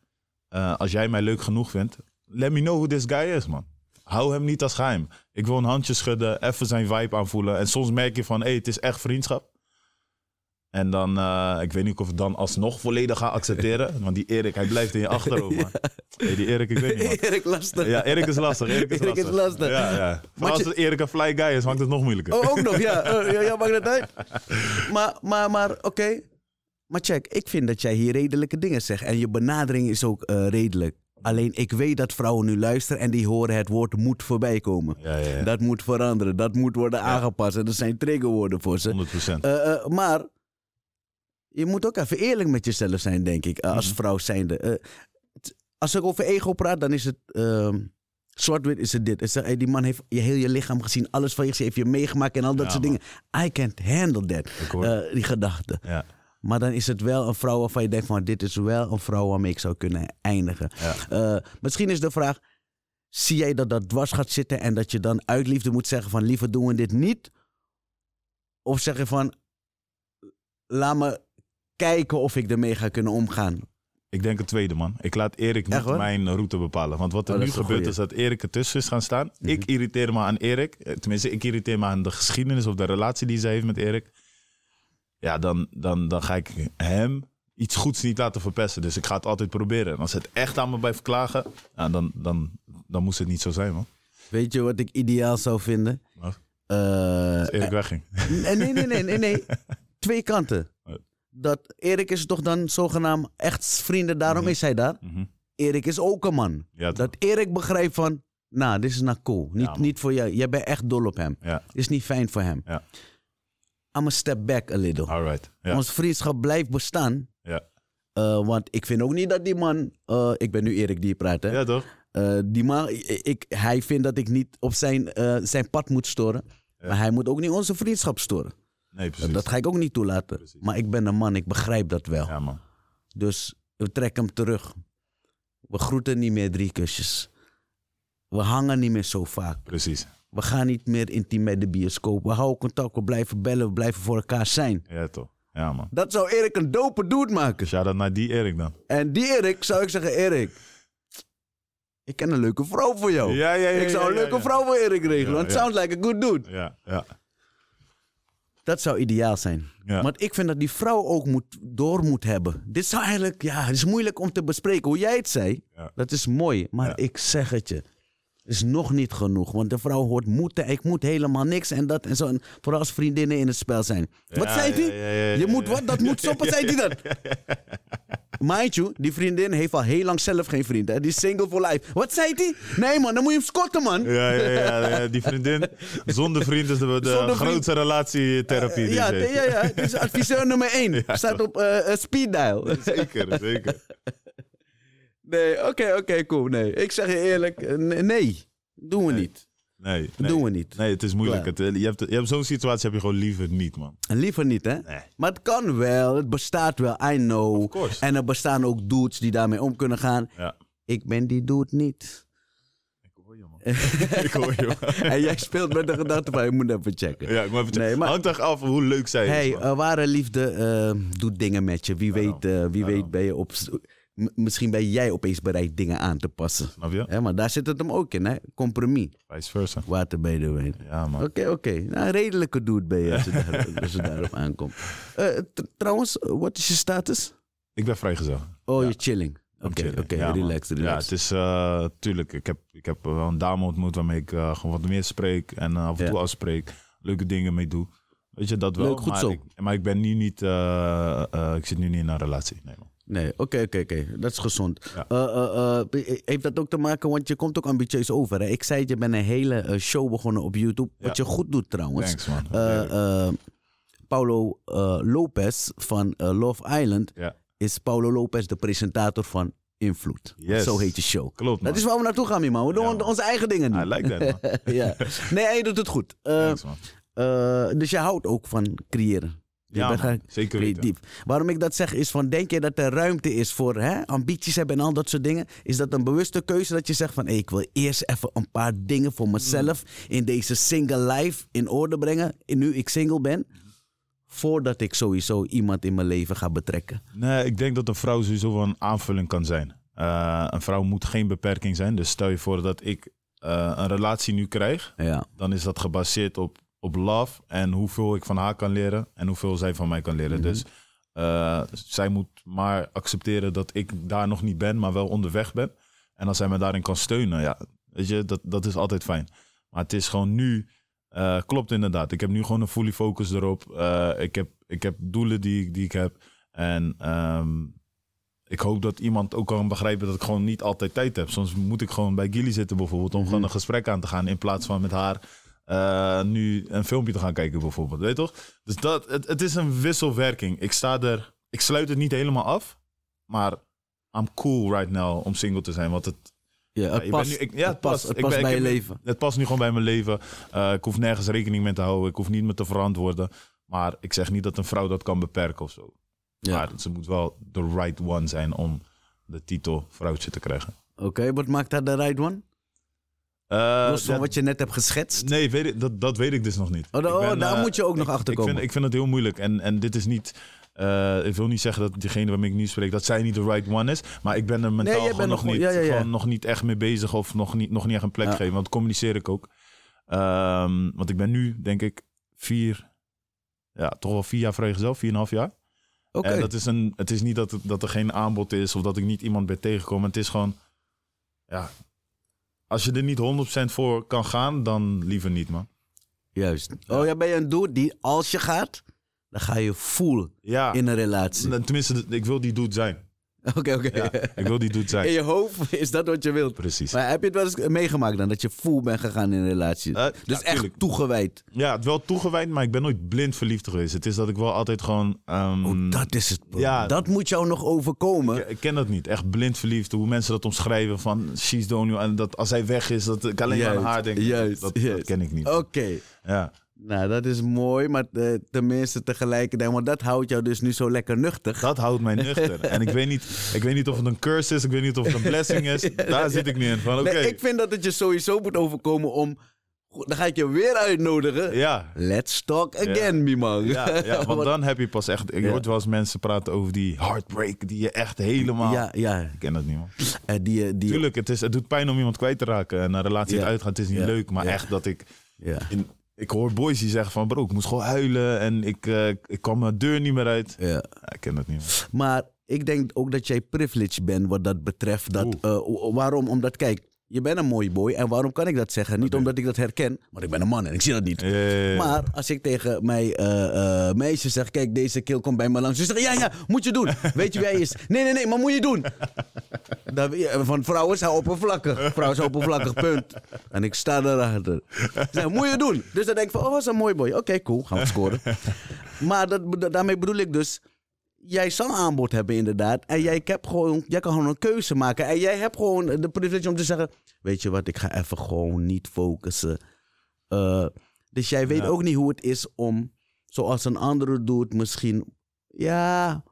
Speaker 2: eh, als jij mij leuk genoeg vindt, let me know who this guy is, man. Hou hem niet als geheim. Ik wil een handje schudden, even zijn vibe aanvoelen. En soms merk je van, hé, hey, het is echt vriendschap. En dan, eh, ik weet niet of ik het dan alsnog volledig ga accepteren. Want die Erik, hij blijft in je achterhoofd, man. Hey, die Erik, ik weet niet, man.
Speaker 1: Erik lastig.
Speaker 2: Ja, Erik is lastig. Erik is
Speaker 1: Erik is
Speaker 2: lastig.
Speaker 1: lastig.
Speaker 2: Ja, ja.
Speaker 1: Maar
Speaker 2: Maar als
Speaker 1: je-
Speaker 2: Erik een fly guy is, maakt het nog moeilijker.
Speaker 1: Oh, ook nog, ja. Eh, ja, ja, maakt dat uit. Maar, maar, maar oké. Maar check, ik vind dat jij hier redelijke dingen zegt. En je benadering is ook eh, redelijk. Alleen ik weet dat vrouwen nu luisteren en die horen het woord moet voorbij komen.
Speaker 2: Ja, ja, ja.
Speaker 1: Dat moet veranderen, dat moet worden aangepast. En dat zijn triggerwoorden voor ze.
Speaker 2: 100 procent.
Speaker 1: Eh, eh, maar je moet ook even eerlijk met jezelf zijn, denk ik, eh, als
Speaker 2: Mhm.
Speaker 1: vrouw zijnde. Eh, t- als ik over ego praat, dan is het ehm, zwart-wit is het dit. Ik zeg, hey, die man heeft je heel je lichaam gezien, alles van je gezien, heeft je meegemaakt en al dat
Speaker 2: Ja,
Speaker 1: soort
Speaker 2: man.
Speaker 1: dingen. I can't handle that,
Speaker 2: Ik hoor.
Speaker 1: eh, die gedachten.
Speaker 2: ja.
Speaker 1: Maar dan is het wel een vrouw waarvan je denkt van dit is wel een vrouw waarmee ik zou kunnen eindigen.
Speaker 2: Ja.
Speaker 1: Eh, misschien is de vraag, zie jij dat dat dwars gaat zitten en dat je dan uit liefde moet zeggen van liever doen we dit niet? Of zeg je van laat me kijken of ik ermee ga kunnen omgaan?
Speaker 2: Ik denk het tweede, man. Ik laat Erik
Speaker 1: Echt
Speaker 2: niet
Speaker 1: waar?
Speaker 2: mijn route bepalen. Want wat er
Speaker 1: Oh, dat
Speaker 2: nu
Speaker 1: is een
Speaker 2: gebeurt
Speaker 1: goeie. Mhm.
Speaker 2: is dat Erik ertussen is gaan staan. Ik irriteer me aan Erik. Eh, Tenminste, ik irriteer me aan de geschiedenis of de relatie die zij heeft met Erik. Ja, dan, dan, dan ga ik hem iets goeds niet laten verpesten. Dus ik ga het altijd proberen. En als ze het echt aan me blijft klagen, nou, dan, dan, dan moest het niet zo zijn, man.
Speaker 1: Weet je wat ik ideaal zou vinden?
Speaker 2: Wat?
Speaker 1: Eh,
Speaker 2: Als Erik wegging.
Speaker 1: eh, nee, nee, nee, nee, nee. Twee kanten.
Speaker 2: Ja.
Speaker 1: Dat Erik is toch dan zogenaamd echt vrienden, daarom
Speaker 2: Mhm.
Speaker 1: is hij daar.
Speaker 2: Mhm.
Speaker 1: Erik is ook een man.
Speaker 2: Ja, toch?
Speaker 1: Dat Erik begrijpt van, nou, dit is nou cool. Niet,
Speaker 2: Ja, man.
Speaker 1: niet voor jou. Jij bent echt dol op hem.
Speaker 2: Ja,
Speaker 1: Dit is niet fijn voor hem.
Speaker 2: Ja.
Speaker 1: I'm a step back a little.
Speaker 2: alright. Ja.
Speaker 1: Onze vriendschap blijft bestaan.
Speaker 2: Ja.
Speaker 1: Eh, want ik vind ook niet dat die man... eh, ik ben nu Erik die praat, hè.
Speaker 2: ja, toch?
Speaker 1: Eh, die man, ik, ik- hij vindt dat ik niet op zijn, eh, zijn pad moet storen.
Speaker 2: Ja.
Speaker 1: Maar hij moet ook niet onze vriendschap storen.
Speaker 2: Nee, precies.
Speaker 1: Dat ga ik ook niet toelaten.
Speaker 2: Precies.
Speaker 1: Maar ik ben een man, ik begrijp dat wel.
Speaker 2: Ja, man.
Speaker 1: Dus we trekken hem terug. We groeten niet meer drie kusjes. We hangen niet meer zo vaak.
Speaker 2: Precies.
Speaker 1: We gaan niet meer intiem bij de bioscoop. We houden contact, we blijven bellen, we blijven voor elkaar zijn.
Speaker 2: Ja, toch? Ja, man.
Speaker 1: Dat zou Erik een dope dude maken.
Speaker 2: Shout-out naar die Erik dan.
Speaker 1: En die Erik zou ik zeggen, Erik, ik ken een leuke vrouw voor jou.
Speaker 2: Ja, ja, ja,
Speaker 1: Oh. ik zou
Speaker 2: ja,
Speaker 1: een
Speaker 2: ja,
Speaker 1: leuke
Speaker 2: ja.
Speaker 1: vrouw voor Erik regelen,
Speaker 2: Ja,
Speaker 1: want it
Speaker 2: ja.
Speaker 1: sounds like a good dude.
Speaker 2: Ja, ja.
Speaker 1: Dat zou ideaal zijn.
Speaker 2: Ja.
Speaker 1: Want ik vind dat die vrouw ook moet, door moet hebben. Dit zou eigenlijk, ja, het is moeilijk om te bespreken. Hoe jij het zei,
Speaker 2: Ja.
Speaker 1: dat is mooi. Maar
Speaker 2: Ja.
Speaker 1: ik zeg het je, het is nog niet genoeg. Want de vrouw hoort moeten, ik moet helemaal niks en dat en zo. En vooral als vriendinnen in het spel zijn. wat
Speaker 2: Ja,
Speaker 1: zei
Speaker 2: ja,
Speaker 1: die?
Speaker 2: ja, ja, ja,
Speaker 1: je
Speaker 2: ja,
Speaker 1: moet
Speaker 2: ja.
Speaker 1: wat, dat moet stoppen, zei die dat. Mind you, die vriendin heeft al heel lang zelf geen vriend. Hè? Die is single for life. Wat zei die? Nee man, dan moet je hem scotten man.
Speaker 2: Ja, ja, ja, ja, die vriendin. Zonder vriend is de, de
Speaker 1: Zonder vriend.
Speaker 2: grootste relatietherapie. die
Speaker 1: ja,
Speaker 2: er is.
Speaker 1: ja, ja, dit is adviseur nummer 1. Staat op eh, eh, speed dial.
Speaker 2: Zeker, zeker.
Speaker 1: Nee, oké, oké, cool. Nee, ik zeg je eerlijk, eh, nee, nee. doen we niet.
Speaker 2: Nee,
Speaker 1: Dat
Speaker 2: nee.
Speaker 1: Doen we niet.
Speaker 2: Nee, het is moeilijk.
Speaker 1: Klaar.
Speaker 2: Het, eh, je hebt, je hebt zo'n situatie heb je gewoon liever niet, man.
Speaker 1: En Liever niet, hè?
Speaker 2: Nee.
Speaker 1: Maar het kan wel, het bestaat wel, I know.
Speaker 2: course.
Speaker 1: En er bestaan ook dudes die daarmee om kunnen gaan.
Speaker 2: Ja.
Speaker 1: Ik ben die dude niet.
Speaker 2: Ik hoor je, man. ik hoor je, man.
Speaker 1: en jij speelt met de gedachte van, je moet even checken.
Speaker 2: Ja, ik moet even checken.
Speaker 1: Nee, maar-
Speaker 2: Hangt toch af hoe leuk zij
Speaker 1: hey,
Speaker 2: is, man.
Speaker 1: eh, ware liefde eh, doet dingen met je. Wie weet, eh, wie weet ben je op... m- Misschien ben jij opeens bereid dingen aan te passen.
Speaker 2: Snap je?
Speaker 1: Hè, maar daar zit het hem ook in, hè? Compromis.
Speaker 2: Vice versa.
Speaker 1: Water bij de wijn.
Speaker 2: Ja, man.
Speaker 1: Oké, oké. Nou, een redelijke dude ben je als je, daar, als je daarop aankomt. Eh, tr- trouwens, eh, wat is je status?
Speaker 2: Ik ben vrijgezel.
Speaker 1: Oh, je chilling. Oké,
Speaker 2: I'm chilling.
Speaker 1: oké.
Speaker 2: Ja, man.
Speaker 1: relax,
Speaker 2: Ja,
Speaker 1: relax.
Speaker 2: het is eh, tuurlijk. Ik heb, ik heb wel een dame ontmoet waarmee ik eh, gewoon wat meer spreek en eh, af en
Speaker 1: Ja.
Speaker 2: toe afspreek. Leuke dingen mee doe. Weet je dat wel?
Speaker 1: Leuk, goed
Speaker 2: maar,
Speaker 1: zo.
Speaker 2: Ik, maar ik ben nu niet. eh, eh, ik zit nu niet in een relatie. Nee, man.
Speaker 1: Nee, oké, oké, oké. Dat is gezond.
Speaker 2: Ja.
Speaker 1: Eh, eh, eh, eh, heeft dat ook te maken, want je komt ook ambitieus over. Hè? Ik zei het, je bent een hele eh, show begonnen op YouTube. Wat
Speaker 2: Ja.
Speaker 1: je goed doet trouwens.
Speaker 2: Thanks, man.
Speaker 1: Eh, eh, Paulo eh, Lopez van eh, Love Island
Speaker 2: ja,
Speaker 1: is Paulo Lopez de presentator van Invloed.
Speaker 2: Yes.
Speaker 1: Zo heet je show.
Speaker 2: klopt, man.
Speaker 1: Dat is waar we naartoe gaan, man. We doen
Speaker 2: Ja, man.
Speaker 1: onze eigen dingen nu.
Speaker 2: I like that, man.
Speaker 1: ja. Nee, hij doet het goed. Eh,
Speaker 2: Thanks, man.
Speaker 1: eh, dus je houdt ook van creëren. Je
Speaker 2: Ja,
Speaker 1: bent
Speaker 2: man.
Speaker 1: graag
Speaker 2: Zeker weten.
Speaker 1: creatief. Waarom ik dat zeg is van, denk je dat er ruimte is voor hè, ambities hebben en al dat soort dingen? Is dat een bewuste keuze dat je zegt van, hey, ik wil eerst even een paar dingen voor mezelf
Speaker 2: Mm.
Speaker 1: in deze single life in orde brengen, nu ik single ben, voordat ik sowieso iemand in mijn leven ga betrekken?
Speaker 2: Nee, ik denk dat een vrouw sowieso wel een aanvulling kan zijn. Eh, een vrouw moet geen beperking zijn. Dus stel je voor dat ik eh, een relatie nu krijg.
Speaker 1: Ja,
Speaker 2: dan is dat gebaseerd op, op love en hoeveel ik van haar kan leren en hoeveel zij van mij kan leren. Dus eh, zij moet maar accepteren dat ik daar nog niet ben, maar wel onderweg ben. En als zij me daarin kan steunen, ja, weet je, dat, dat is altijd fijn. Maar het is gewoon nu, eh, klopt inderdaad. Ik heb nu gewoon een fully focus erop. Eh, ik, heb, ik heb doelen die, ik- die ik heb. En ehm, ik hoop dat iemand ook kan begrijpen dat ik gewoon niet altijd tijd heb. Soms moet ik gewoon bij Gilly zitten bijvoorbeeld om gewoon een gesprek aan te gaan. In plaats van met haar eh, nu een filmpje te gaan kijken bijvoorbeeld. Weet je toch? Dus dat, het, het is een wisselwerking. Ik sta er, ik sluit het niet helemaal af. Maar I'm cool right now om single te zijn. Want het,
Speaker 1: ja het
Speaker 2: ik ben
Speaker 1: past,
Speaker 2: nu- ik- ja,
Speaker 1: het past, het
Speaker 2: Ik
Speaker 1: past
Speaker 2: ben- ik
Speaker 1: bij je
Speaker 2: heb-
Speaker 1: leven.
Speaker 2: het past nu gewoon bij mijn leven. Eh, ik hoef nergens rekening mee te houden. Ik hoef niet me te verantwoorden. Maar ik zeg niet dat een vrouw dat kan beperken of zo.
Speaker 1: Ja.
Speaker 2: Maar ze moet wel de right one zijn om de titel vrouwtje te krijgen.
Speaker 1: Oké, wat maakt dat de right one?
Speaker 2: Eh,
Speaker 1: Los van
Speaker 2: ja,
Speaker 1: wat je net hebt geschetst?
Speaker 2: Nee, weet ik, dat, dat weet ik dus nog niet.
Speaker 1: Oh, da-
Speaker 2: Ik
Speaker 1: oh, daar
Speaker 2: eh,
Speaker 1: moet je ook nog
Speaker 2: ik-
Speaker 1: achterkomen.
Speaker 2: Ik vind, ik vind het heel moeilijk. En, en dit is niet... eh, ik wil niet zeggen dat diegene waarmee ik nu spreek... dat zij niet de right one is. Maar ik ben er
Speaker 1: jij
Speaker 2: mentaal
Speaker 1: bent
Speaker 2: gewoon nog,
Speaker 1: nog-
Speaker 2: niet,
Speaker 1: ja, ja, ja.
Speaker 2: Gewoon nog niet echt mee bezig... of nog niet, nog niet echt een plek
Speaker 1: Ja.
Speaker 2: geven. Want dat communiceer ik ook. Ehm, want ik ben nu, denk ik, vier... Ja, toch wel vier jaar vrijgezel. Vier en een half jaar.
Speaker 1: Oké.
Speaker 2: En Eh, dat is een, het is niet dat, het- dat er geen aanbod is of dat ik niet iemand ben tegengekomen. Het is gewoon, ja, als je er niet 100% voor kan gaan, dan liever niet, man.
Speaker 1: Juist. Oh ja, ben je een dude die als je gaat, dan ga je full
Speaker 2: Ja,
Speaker 1: in een relatie.
Speaker 2: n- tenminste, ik wil die dude zijn.
Speaker 1: Oké, oké.
Speaker 2: Ja, ik wil die dude
Speaker 1: In
Speaker 2: zijn.
Speaker 1: je hoofd is dat wat je wilt.
Speaker 2: Precies.
Speaker 1: Maar heb je het wel eens meegemaakt dan, dat je full bent gegaan in een relatie?
Speaker 2: Eh,
Speaker 1: dus
Speaker 2: ja,
Speaker 1: echt
Speaker 2: tuurlijk.
Speaker 1: toegewijd.
Speaker 2: Ja, het wel toegewijd, maar ik ben nooit blind verliefd geweest. Het is dat ik wel altijd gewoon... ehm,
Speaker 1: Oh, dat is het probleem.
Speaker 2: ja.
Speaker 1: Dat moet jou nog overkomen.
Speaker 2: Ik ken dat niet. Echt blind verliefd. Hoe mensen dat omschrijven van she's the only one. En dat als hij weg is, dat ik alleen maar aan
Speaker 1: Juist,
Speaker 2: haar denk.
Speaker 1: juist,
Speaker 2: dat, dat
Speaker 1: juist. Oh.
Speaker 2: ken ik niet.
Speaker 1: Oké.
Speaker 2: Ja.
Speaker 1: Nou, dat is mooi, maar eh, tenminste tegelijkertijd. Want dat houdt jou dus nu zo lekker nuchter.
Speaker 2: Dat houdt mij nuchter. en ik weet, niet, ik weet niet of het een curse is. Ik weet niet of het een blessing is. Daar zit ik nu in. Van oké.
Speaker 1: Nee, ik vind dat het je sowieso moet overkomen om... Goed, Dan ga ik je weer uitnodigen.
Speaker 2: Ja.
Speaker 1: Let's talk again, mi man.
Speaker 2: Ja, ja, want dan heb je pas echt... Je
Speaker 1: Ja.
Speaker 2: hoort wel eens mensen praten over die heartbreak. Die je echt helemaal...
Speaker 1: Ja, ja.
Speaker 2: Ik ken dat niet, man.
Speaker 1: Eh, die, die,
Speaker 2: Tuurlijk, het, is, het doet pijn om iemand kwijt te raken. En een relatie
Speaker 1: Ja.
Speaker 2: uitgaat, het is niet
Speaker 1: Ja.
Speaker 2: leuk. Maar
Speaker 1: Ja.
Speaker 2: echt dat ik...
Speaker 1: ja.
Speaker 2: in- ik hoor boys die zeggen van... Bro, ik moest gewoon huilen. En ik, eh, ik kwam mijn deur niet meer uit.
Speaker 1: ja.
Speaker 2: Ja, ik ken dat niet, man.
Speaker 1: Maar ik denk ook dat jij privileged bent wat dat betreft. Dat, eh, waarom? Omdat, kijk, je bent een mooi boy. En waarom kan ik dat zeggen? Niet omdat ik dat herken, maar ik ben een man en ik zie dat niet.
Speaker 2: Ja, ja, ja.
Speaker 1: Maar als ik tegen mijn eh, eh, meisje zeg: Kijk, deze keel komt bij me langs. Ze zeggen: Ja, ja, moet je doen. Weet je wie hij is? Nee, nee, nee, maar moet je doen. Dan, ja, van vrouwen zijn oppervlakkig. Vrouwen zijn oppervlakkig, punt. En ik sta daarachter. Ze zeggen: Moet je doen. Dus dan denk ik: van, Oh, was een mooi boy. Oké, cool, gaan we scoren. Maar dat, bedo- daarmee bedoel ik dus. Jij zal aanbod hebben, inderdaad. En jij, hebt gewoon, jij kan gewoon een keuze maken. En jij hebt gewoon de privilege om te zeggen: Weet je wat, ik ga even gewoon niet focussen. Eh, dus jij weet
Speaker 2: Ja.
Speaker 1: ook niet hoe het is om, zoals een andere doet, misschien ja,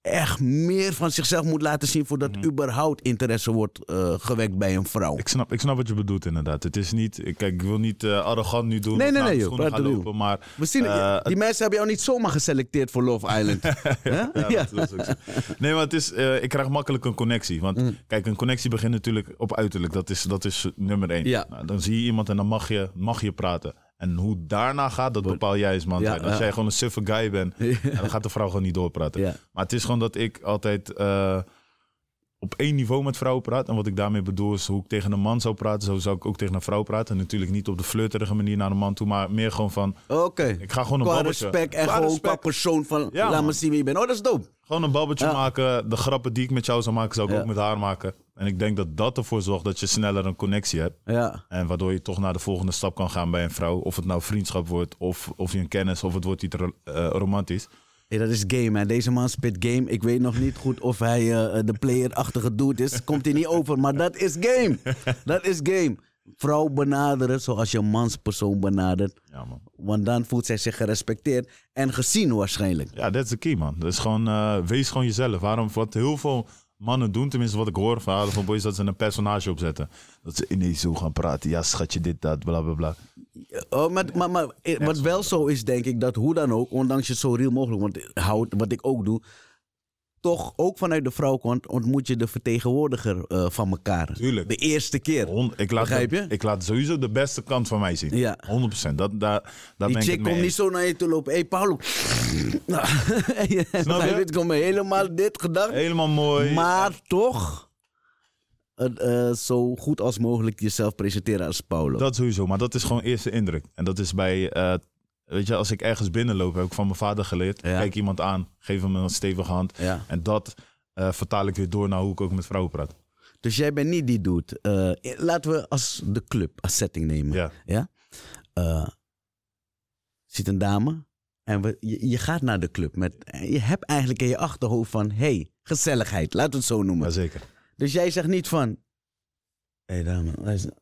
Speaker 1: echt meer van zichzelf moet laten zien voordat überhaupt interesse wordt eh, gewekt bij een vrouw.
Speaker 2: Mhm. Ik snap, ik snap wat je bedoelt inderdaad. Het is niet, ik- kijk, ik wil niet eh, arrogant nu doen.
Speaker 1: Nee,
Speaker 2: of
Speaker 1: nee,
Speaker 2: naar
Speaker 1: nee,
Speaker 2: de
Speaker 1: joh.
Speaker 2: schoenen
Speaker 1: Praat
Speaker 2: gaan
Speaker 1: er
Speaker 2: lopen, maar
Speaker 1: Misschien,
Speaker 2: eh,
Speaker 1: die mensen hebben jou niet zomaar geselecteerd voor Love Island. Hè?
Speaker 2: ja, dat is ook zo. Nee, maar het is, eh, ik krijg makkelijk een connectie. Want
Speaker 1: Mm.
Speaker 2: kijk, een connectie begint natuurlijk op uiterlijk. Dat is, dat is nummer één.
Speaker 1: Ja.
Speaker 2: Nou, dan zie je iemand en dan mag je, mag je praten. En hoe daarna gaat, dat bepaal jij eens, man.
Speaker 1: Ja,
Speaker 2: als
Speaker 1: ja.
Speaker 2: jij gewoon een suffe guy bent, ja, dan gaat de vrouw gewoon niet doorpraten.
Speaker 1: Ja.
Speaker 2: Maar het is gewoon dat ik altijd eh, op één niveau met vrouwen praat. En wat ik daarmee bedoel is hoe ik tegen een man zou praten. Zo zou ik ook tegen een vrouw praten. En natuurlijk niet op de flirterige manier naar een man toe. Maar meer gewoon van,
Speaker 1: Oké.
Speaker 2: ik ga gewoon een
Speaker 1: Qua
Speaker 2: babbeltje.
Speaker 1: respect en
Speaker 2: Qua
Speaker 1: gewoon
Speaker 2: respect.
Speaker 1: qua persoon van
Speaker 2: Ja,
Speaker 1: laat me
Speaker 2: man.
Speaker 1: zien wie je bent. Oh, dat is dope.
Speaker 2: Gewoon een babbeltje
Speaker 1: Ja.
Speaker 2: maken. De grappen die ik met jou zou maken, zou ik
Speaker 1: Ja.
Speaker 2: ook met haar maken. En ik denk dat dat ervoor zorgt dat je sneller een connectie hebt.
Speaker 1: Ja.
Speaker 2: En waardoor je toch naar de volgende stap kan gaan bij een vrouw. Of het nou vriendschap wordt, of, of je een kennis, of het wordt iets ro- eh, romantisch.
Speaker 1: Hey, dat is game, hè. Deze man spit game. Ik weet nog niet goed of hij eh, de player-achtige dude is. Komt hij niet over, maar dat is game. Dat is game. Vrouw benaderen zoals je een manspersoon benadert.
Speaker 2: Ja, man.
Speaker 1: Want dan voelt zij zich gerespecteerd en gezien waarschijnlijk.
Speaker 2: Ja, dat is de key, man. Dat is gewoon, eh, wees gewoon jezelf. Waarom, wat heel veel mannen doen, tenminste wat ik hoor van van boys, dat ze een personage opzetten. Dat ze ineens zo gaan praten. Ja, schatje, dit, dat, bla, bla, bla.
Speaker 1: Oh, maar, maar, maar eh, wat wel zo is, denk ik, dat hoe dan ook, ondanks je het zo real mogelijk want houdt, wat ik ook doe, toch ook vanuit de vrouwkant ontmoet je de vertegenwoordiger eh, van elkaar.
Speaker 2: Tuurlijk.
Speaker 1: De eerste keer.
Speaker 2: Hon- ik, laat
Speaker 1: Begrijp je?
Speaker 2: de- ik laat sowieso de beste kant van mij zien.
Speaker 1: Ja.
Speaker 2: 100%. Dat, daar, daar ben
Speaker 1: Die
Speaker 2: ik het
Speaker 1: chick
Speaker 2: mee
Speaker 1: komt niet
Speaker 2: eens.
Speaker 1: zo naar je toe lopen. Hé, hey, Paulo. Nou,
Speaker 2: Snap je?
Speaker 1: Dit komt me helemaal dit gedacht.
Speaker 2: Helemaal mooi.
Speaker 1: maar toch het, eh, zo goed als mogelijk jezelf presenteren als Paulo.
Speaker 2: Dat sowieso, maar dat is gewoon eerste indruk. En dat is bij, eh, weet je, als ik ergens binnenloop, heb ik van mijn vader geleerd.
Speaker 1: Ja.
Speaker 2: Kijk iemand aan, geef hem een stevige hand.
Speaker 1: Ja.
Speaker 2: En dat eh, vertaal ik weer door naar hoe ik ook met vrouwen praat.
Speaker 1: Dus jij bent niet die dude. Eh, laten we als de club, als setting nemen.
Speaker 2: Ja.
Speaker 1: Eh, ziet een dame en we, je, je gaat naar de club. Met, en je hebt eigenlijk in je achterhoofd van... hey, gezelligheid, laten we het zo noemen.
Speaker 2: Jazeker.
Speaker 1: Dus jij zegt niet van. Hé hey, dame, luister.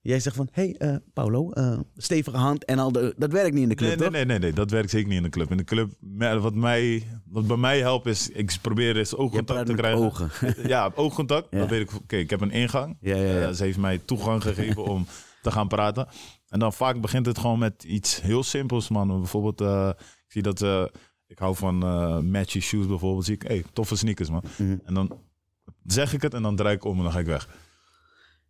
Speaker 1: Jij zegt van, hé hey, eh, Paolo, eh, stevige hand en al de, dat werkt niet in de club,
Speaker 2: Nee, nee,
Speaker 1: toch?
Speaker 2: nee, nee, nee, dat werkt zeker niet in de club. In de club, me- wat, mij, wat bij mij helpt is, ik probeer eens
Speaker 1: Je
Speaker 2: oogcontact
Speaker 1: praat
Speaker 2: te
Speaker 1: met
Speaker 2: krijgen.
Speaker 1: ogen.
Speaker 2: Ja, oogcontact.
Speaker 1: Ja.
Speaker 2: Dan weet ik, oké, ik heb een ingang.
Speaker 1: Ja, ja, ja.
Speaker 2: Eh, ze heeft mij toegang gegeven om te gaan praten. En dan vaak begint het gewoon met iets heel simpels, man. Bijvoorbeeld, eh, ik zie dat... eh, ik hou van eh matchy shoes bijvoorbeeld. Zie ik, hey, toffe sneakers, man.
Speaker 1: Mhm.
Speaker 2: En dan zeg ik het en dan draai ik om en dan ga ik weg.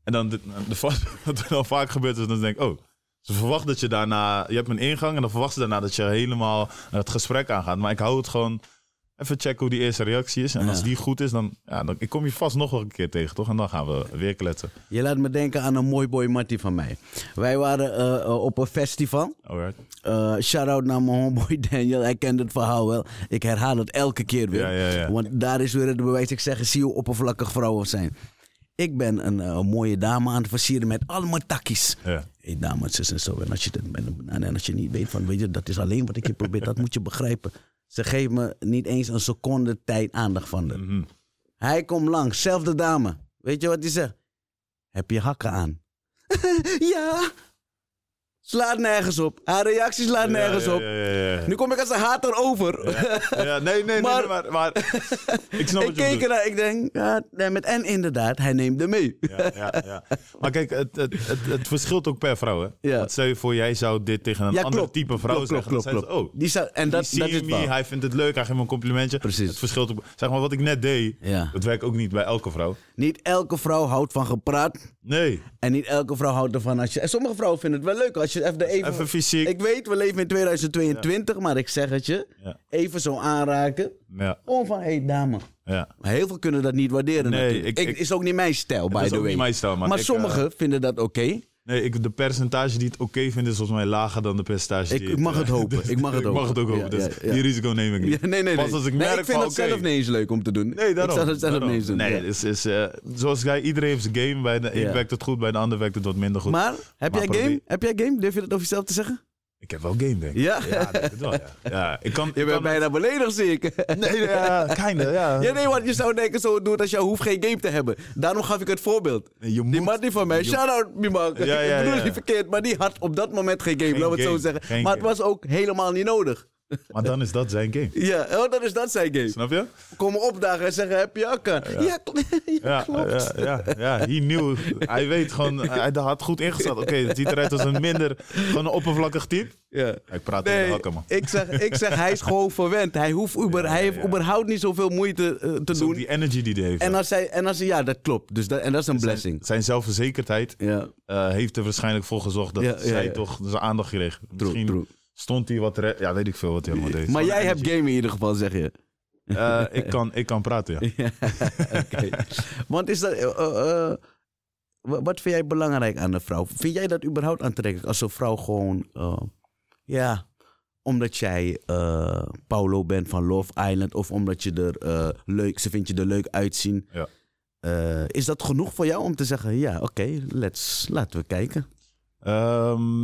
Speaker 2: En dan, de, de, wat er dan vaak gebeurt is, dan denk ik, oh... Ze verwacht dat je daarna... Je hebt een ingang en dan verwacht ze daarna dat je helemaal het gesprek aangaat. Maar ik hou het gewoon Even checken hoe die eerste reactie is. En
Speaker 1: Ja.
Speaker 2: als die goed is, dan, ja, dan ik kom je vast nog wel een keer tegen, toch? En dan gaan we weer kletsen.
Speaker 1: Je laat me denken aan een mooi boy Mattie van mij. Wij waren eh, eh, op een festival.
Speaker 2: Alright.
Speaker 1: Eh, Shout-out naar mijn homeboy Daniel. Hij kent het verhaal wel. Ik herhaal het elke keer weer.
Speaker 2: Ja, ja, ja.
Speaker 1: Want daar is weer het bewijs. Ik zeg, zie hoe oppervlakkig vrouwen zijn. Ik ben een eh, mooie dame aan het versieren met allemaal takkies.
Speaker 2: Ja.
Speaker 1: Hé, dames zus en zo. En als je dat met een banaan en als je niet weet van, weet je, dat is alleen wat ik je probeer, dat moet je begrijpen. Ze geeft me niet eens een seconde tijd aandacht van haar.
Speaker 2: Mhm.
Speaker 1: Hij komt langs, zelfde dame. Weet je wat hij zegt? Heb je hakken aan? ja. Slaat nergens op. Haar reactie slaat nergens
Speaker 2: ja,
Speaker 1: op.
Speaker 2: Ja, ja, ja, ja.
Speaker 1: Nu kom ik als een hater over.
Speaker 2: Ja, nee, nee, nee,
Speaker 1: Maar-
Speaker 2: nee, maar, maar ik snap
Speaker 1: ik
Speaker 2: wat je bedoelt.
Speaker 1: keek ernaar, ik denk, ja, nee, met en inderdaad, hij neemt er mee.
Speaker 2: Ja, ja, ja. Maar kijk, het, het, het, het verschilt ook per vrouw, hè?
Speaker 1: Ja.
Speaker 2: Want stel je voor, jij zou dit tegen een
Speaker 1: Ja,
Speaker 2: ander
Speaker 1: klopt.
Speaker 2: type vrouw
Speaker 1: klopt, klopt,
Speaker 2: zeggen.
Speaker 1: klopt,
Speaker 2: dan
Speaker 1: klopt.
Speaker 2: zei ze, oh,
Speaker 1: Die zou- en dat, dat is
Speaker 2: dat
Speaker 1: het verhaal.
Speaker 2: hij vindt het leuk, hij geeft me een complimentje.
Speaker 1: Precies.
Speaker 2: Het verschilt ook... Zeg maar, wat ik net deed,
Speaker 1: Ja.
Speaker 2: dat werkt ook niet bij elke vrouw.
Speaker 1: Niet elke vrouw houdt van gepraat.
Speaker 2: Nee,
Speaker 1: En niet elke vrouw houdt ervan als je... En sommige vrouwen vinden het wel leuk als je even... de Even,
Speaker 2: even fysiek.
Speaker 1: ik weet, we leven in 2022, maar ik zeg het je.
Speaker 2: Ja.
Speaker 1: Even zo aanraken.
Speaker 2: Ja,
Speaker 1: Gewoon van, hé hey, dame.
Speaker 2: ja.
Speaker 1: Maar heel veel kunnen dat niet waarderen
Speaker 2: Nee,
Speaker 1: natuurlijk.
Speaker 2: ik-
Speaker 1: Ik,
Speaker 2: ik-
Speaker 1: is ook niet mijn stijl, by
Speaker 2: is
Speaker 1: the
Speaker 2: ook
Speaker 1: way.
Speaker 2: niet mijn stijl, man.
Speaker 1: Maar
Speaker 2: Ik, eh,
Speaker 1: sommigen vinden dat oké.
Speaker 2: Nee, ik, de percentage die het oké vindt is volgens mij lager dan de percentage
Speaker 1: Ik-
Speaker 2: die
Speaker 1: ik mag het hopen. Ik mag het
Speaker 2: Ik mag het ook
Speaker 1: hopen.
Speaker 2: hopen,
Speaker 1: Ja,
Speaker 2: dus
Speaker 1: ja, ja.
Speaker 2: die risico neem ik
Speaker 1: Ja,
Speaker 2: niet.
Speaker 1: nee, nee, nee.
Speaker 2: Pas als ik
Speaker 1: nee,
Speaker 2: merk
Speaker 1: ik vind
Speaker 2: van,
Speaker 1: dat zelf
Speaker 2: oké.
Speaker 1: niet eens leuk om te doen.
Speaker 2: Nee, daarom.
Speaker 1: Ik zou dat zelf
Speaker 2: daarom.
Speaker 1: niet eens doen.
Speaker 2: Nee,
Speaker 1: ja.
Speaker 2: is, is, eh, zoals jij, iedereen heeft zijn game. Bij de een
Speaker 1: Ja.
Speaker 2: werkt het goed, bij de ander werkt het wat minder goed.
Speaker 1: Maar, heb
Speaker 2: Maar
Speaker 1: jij
Speaker 2: probeer-
Speaker 1: game? Heb jij game? Durf je dat over jezelf te zeggen?
Speaker 2: Ik heb wel game, denk ik.
Speaker 1: Ja?
Speaker 2: Ja, ik denk het wel, ja. ja ik kan...
Speaker 1: Je
Speaker 2: ik
Speaker 1: bent
Speaker 2: kan-
Speaker 1: bijna beledigd, zie ik.
Speaker 2: Nee, ja, kinder, ja.
Speaker 1: Ja, nee, want je zou denken zo doen als je hoeft geen game te hebben. Daarom gaf ik het voorbeeld.
Speaker 2: Nee, je
Speaker 1: Die
Speaker 2: moet-
Speaker 1: man die van mij,
Speaker 2: je-
Speaker 1: shout-out die man.
Speaker 2: ja,
Speaker 1: ik bedoel
Speaker 2: ja.
Speaker 1: niet verkeerd, maar die had op dat moment geen game,
Speaker 2: Geen
Speaker 1: laten we het zo
Speaker 2: game,
Speaker 1: zeggen.
Speaker 2: geen
Speaker 1: maar het
Speaker 2: game.
Speaker 1: was ook helemaal niet nodig.
Speaker 2: Maar dan is dat zijn game.
Speaker 1: Ja, oh, dat is dat zijn game.
Speaker 2: Snap je?
Speaker 1: Komen opdagen en zeggen, heb je ook aan? Ja, kl- ja,
Speaker 2: Ja,
Speaker 1: klopt.
Speaker 2: ja, ja, ja. He knew. Hij weet gewoon, hij had goed ingezet. Oké, het ziet eruit als een minder, gewoon een oppervlakkig type.
Speaker 1: Ja.
Speaker 2: Ik praat in de
Speaker 1: Nee,
Speaker 2: hakken, man.
Speaker 1: ik zeg, ik zeg, hij is gewoon verwend. Hij, hoeft uber, hij heeft
Speaker 2: ja.
Speaker 1: überhaupt niet zoveel moeite eh, te
Speaker 2: Dus ook
Speaker 1: doen.
Speaker 2: die energy die hij heeft.
Speaker 1: En als hij, en als hij, ja, dat klopt. Dus dat, en dat is een blessing.
Speaker 2: Zijn zelfverzekerdheid
Speaker 1: Ja.
Speaker 2: eh, heeft er waarschijnlijk voor gezorgd dat
Speaker 1: Ja, ja,
Speaker 2: zij
Speaker 1: ja.
Speaker 2: toch zijn aandacht kreeg. Misschien
Speaker 1: true.
Speaker 2: stond hij wat... re- Ja, weet ik veel wat hij allemaal deed.
Speaker 1: Maar
Speaker 2: Gewoon
Speaker 1: jij
Speaker 2: energy.
Speaker 1: hebt game in ieder geval, zeg je.
Speaker 2: Eh, ik, kan, ik kan praten, ja.
Speaker 1: Ja, oké. Want is dat. eh, eh, eh, wa- wat vind jij belangrijk aan een vrouw? Vind jij dat überhaupt aantrekkelijk als een vrouw gewoon. eh, ja, omdat jij eh, Paulo bent van Love Island of omdat je er eh, leuk. Ze vindt je er leuk uitzien.
Speaker 2: Ja.
Speaker 1: Eh, is dat genoeg voor jou om te zeggen: ja, oké, let's, laten we kijken?
Speaker 2: Ehm,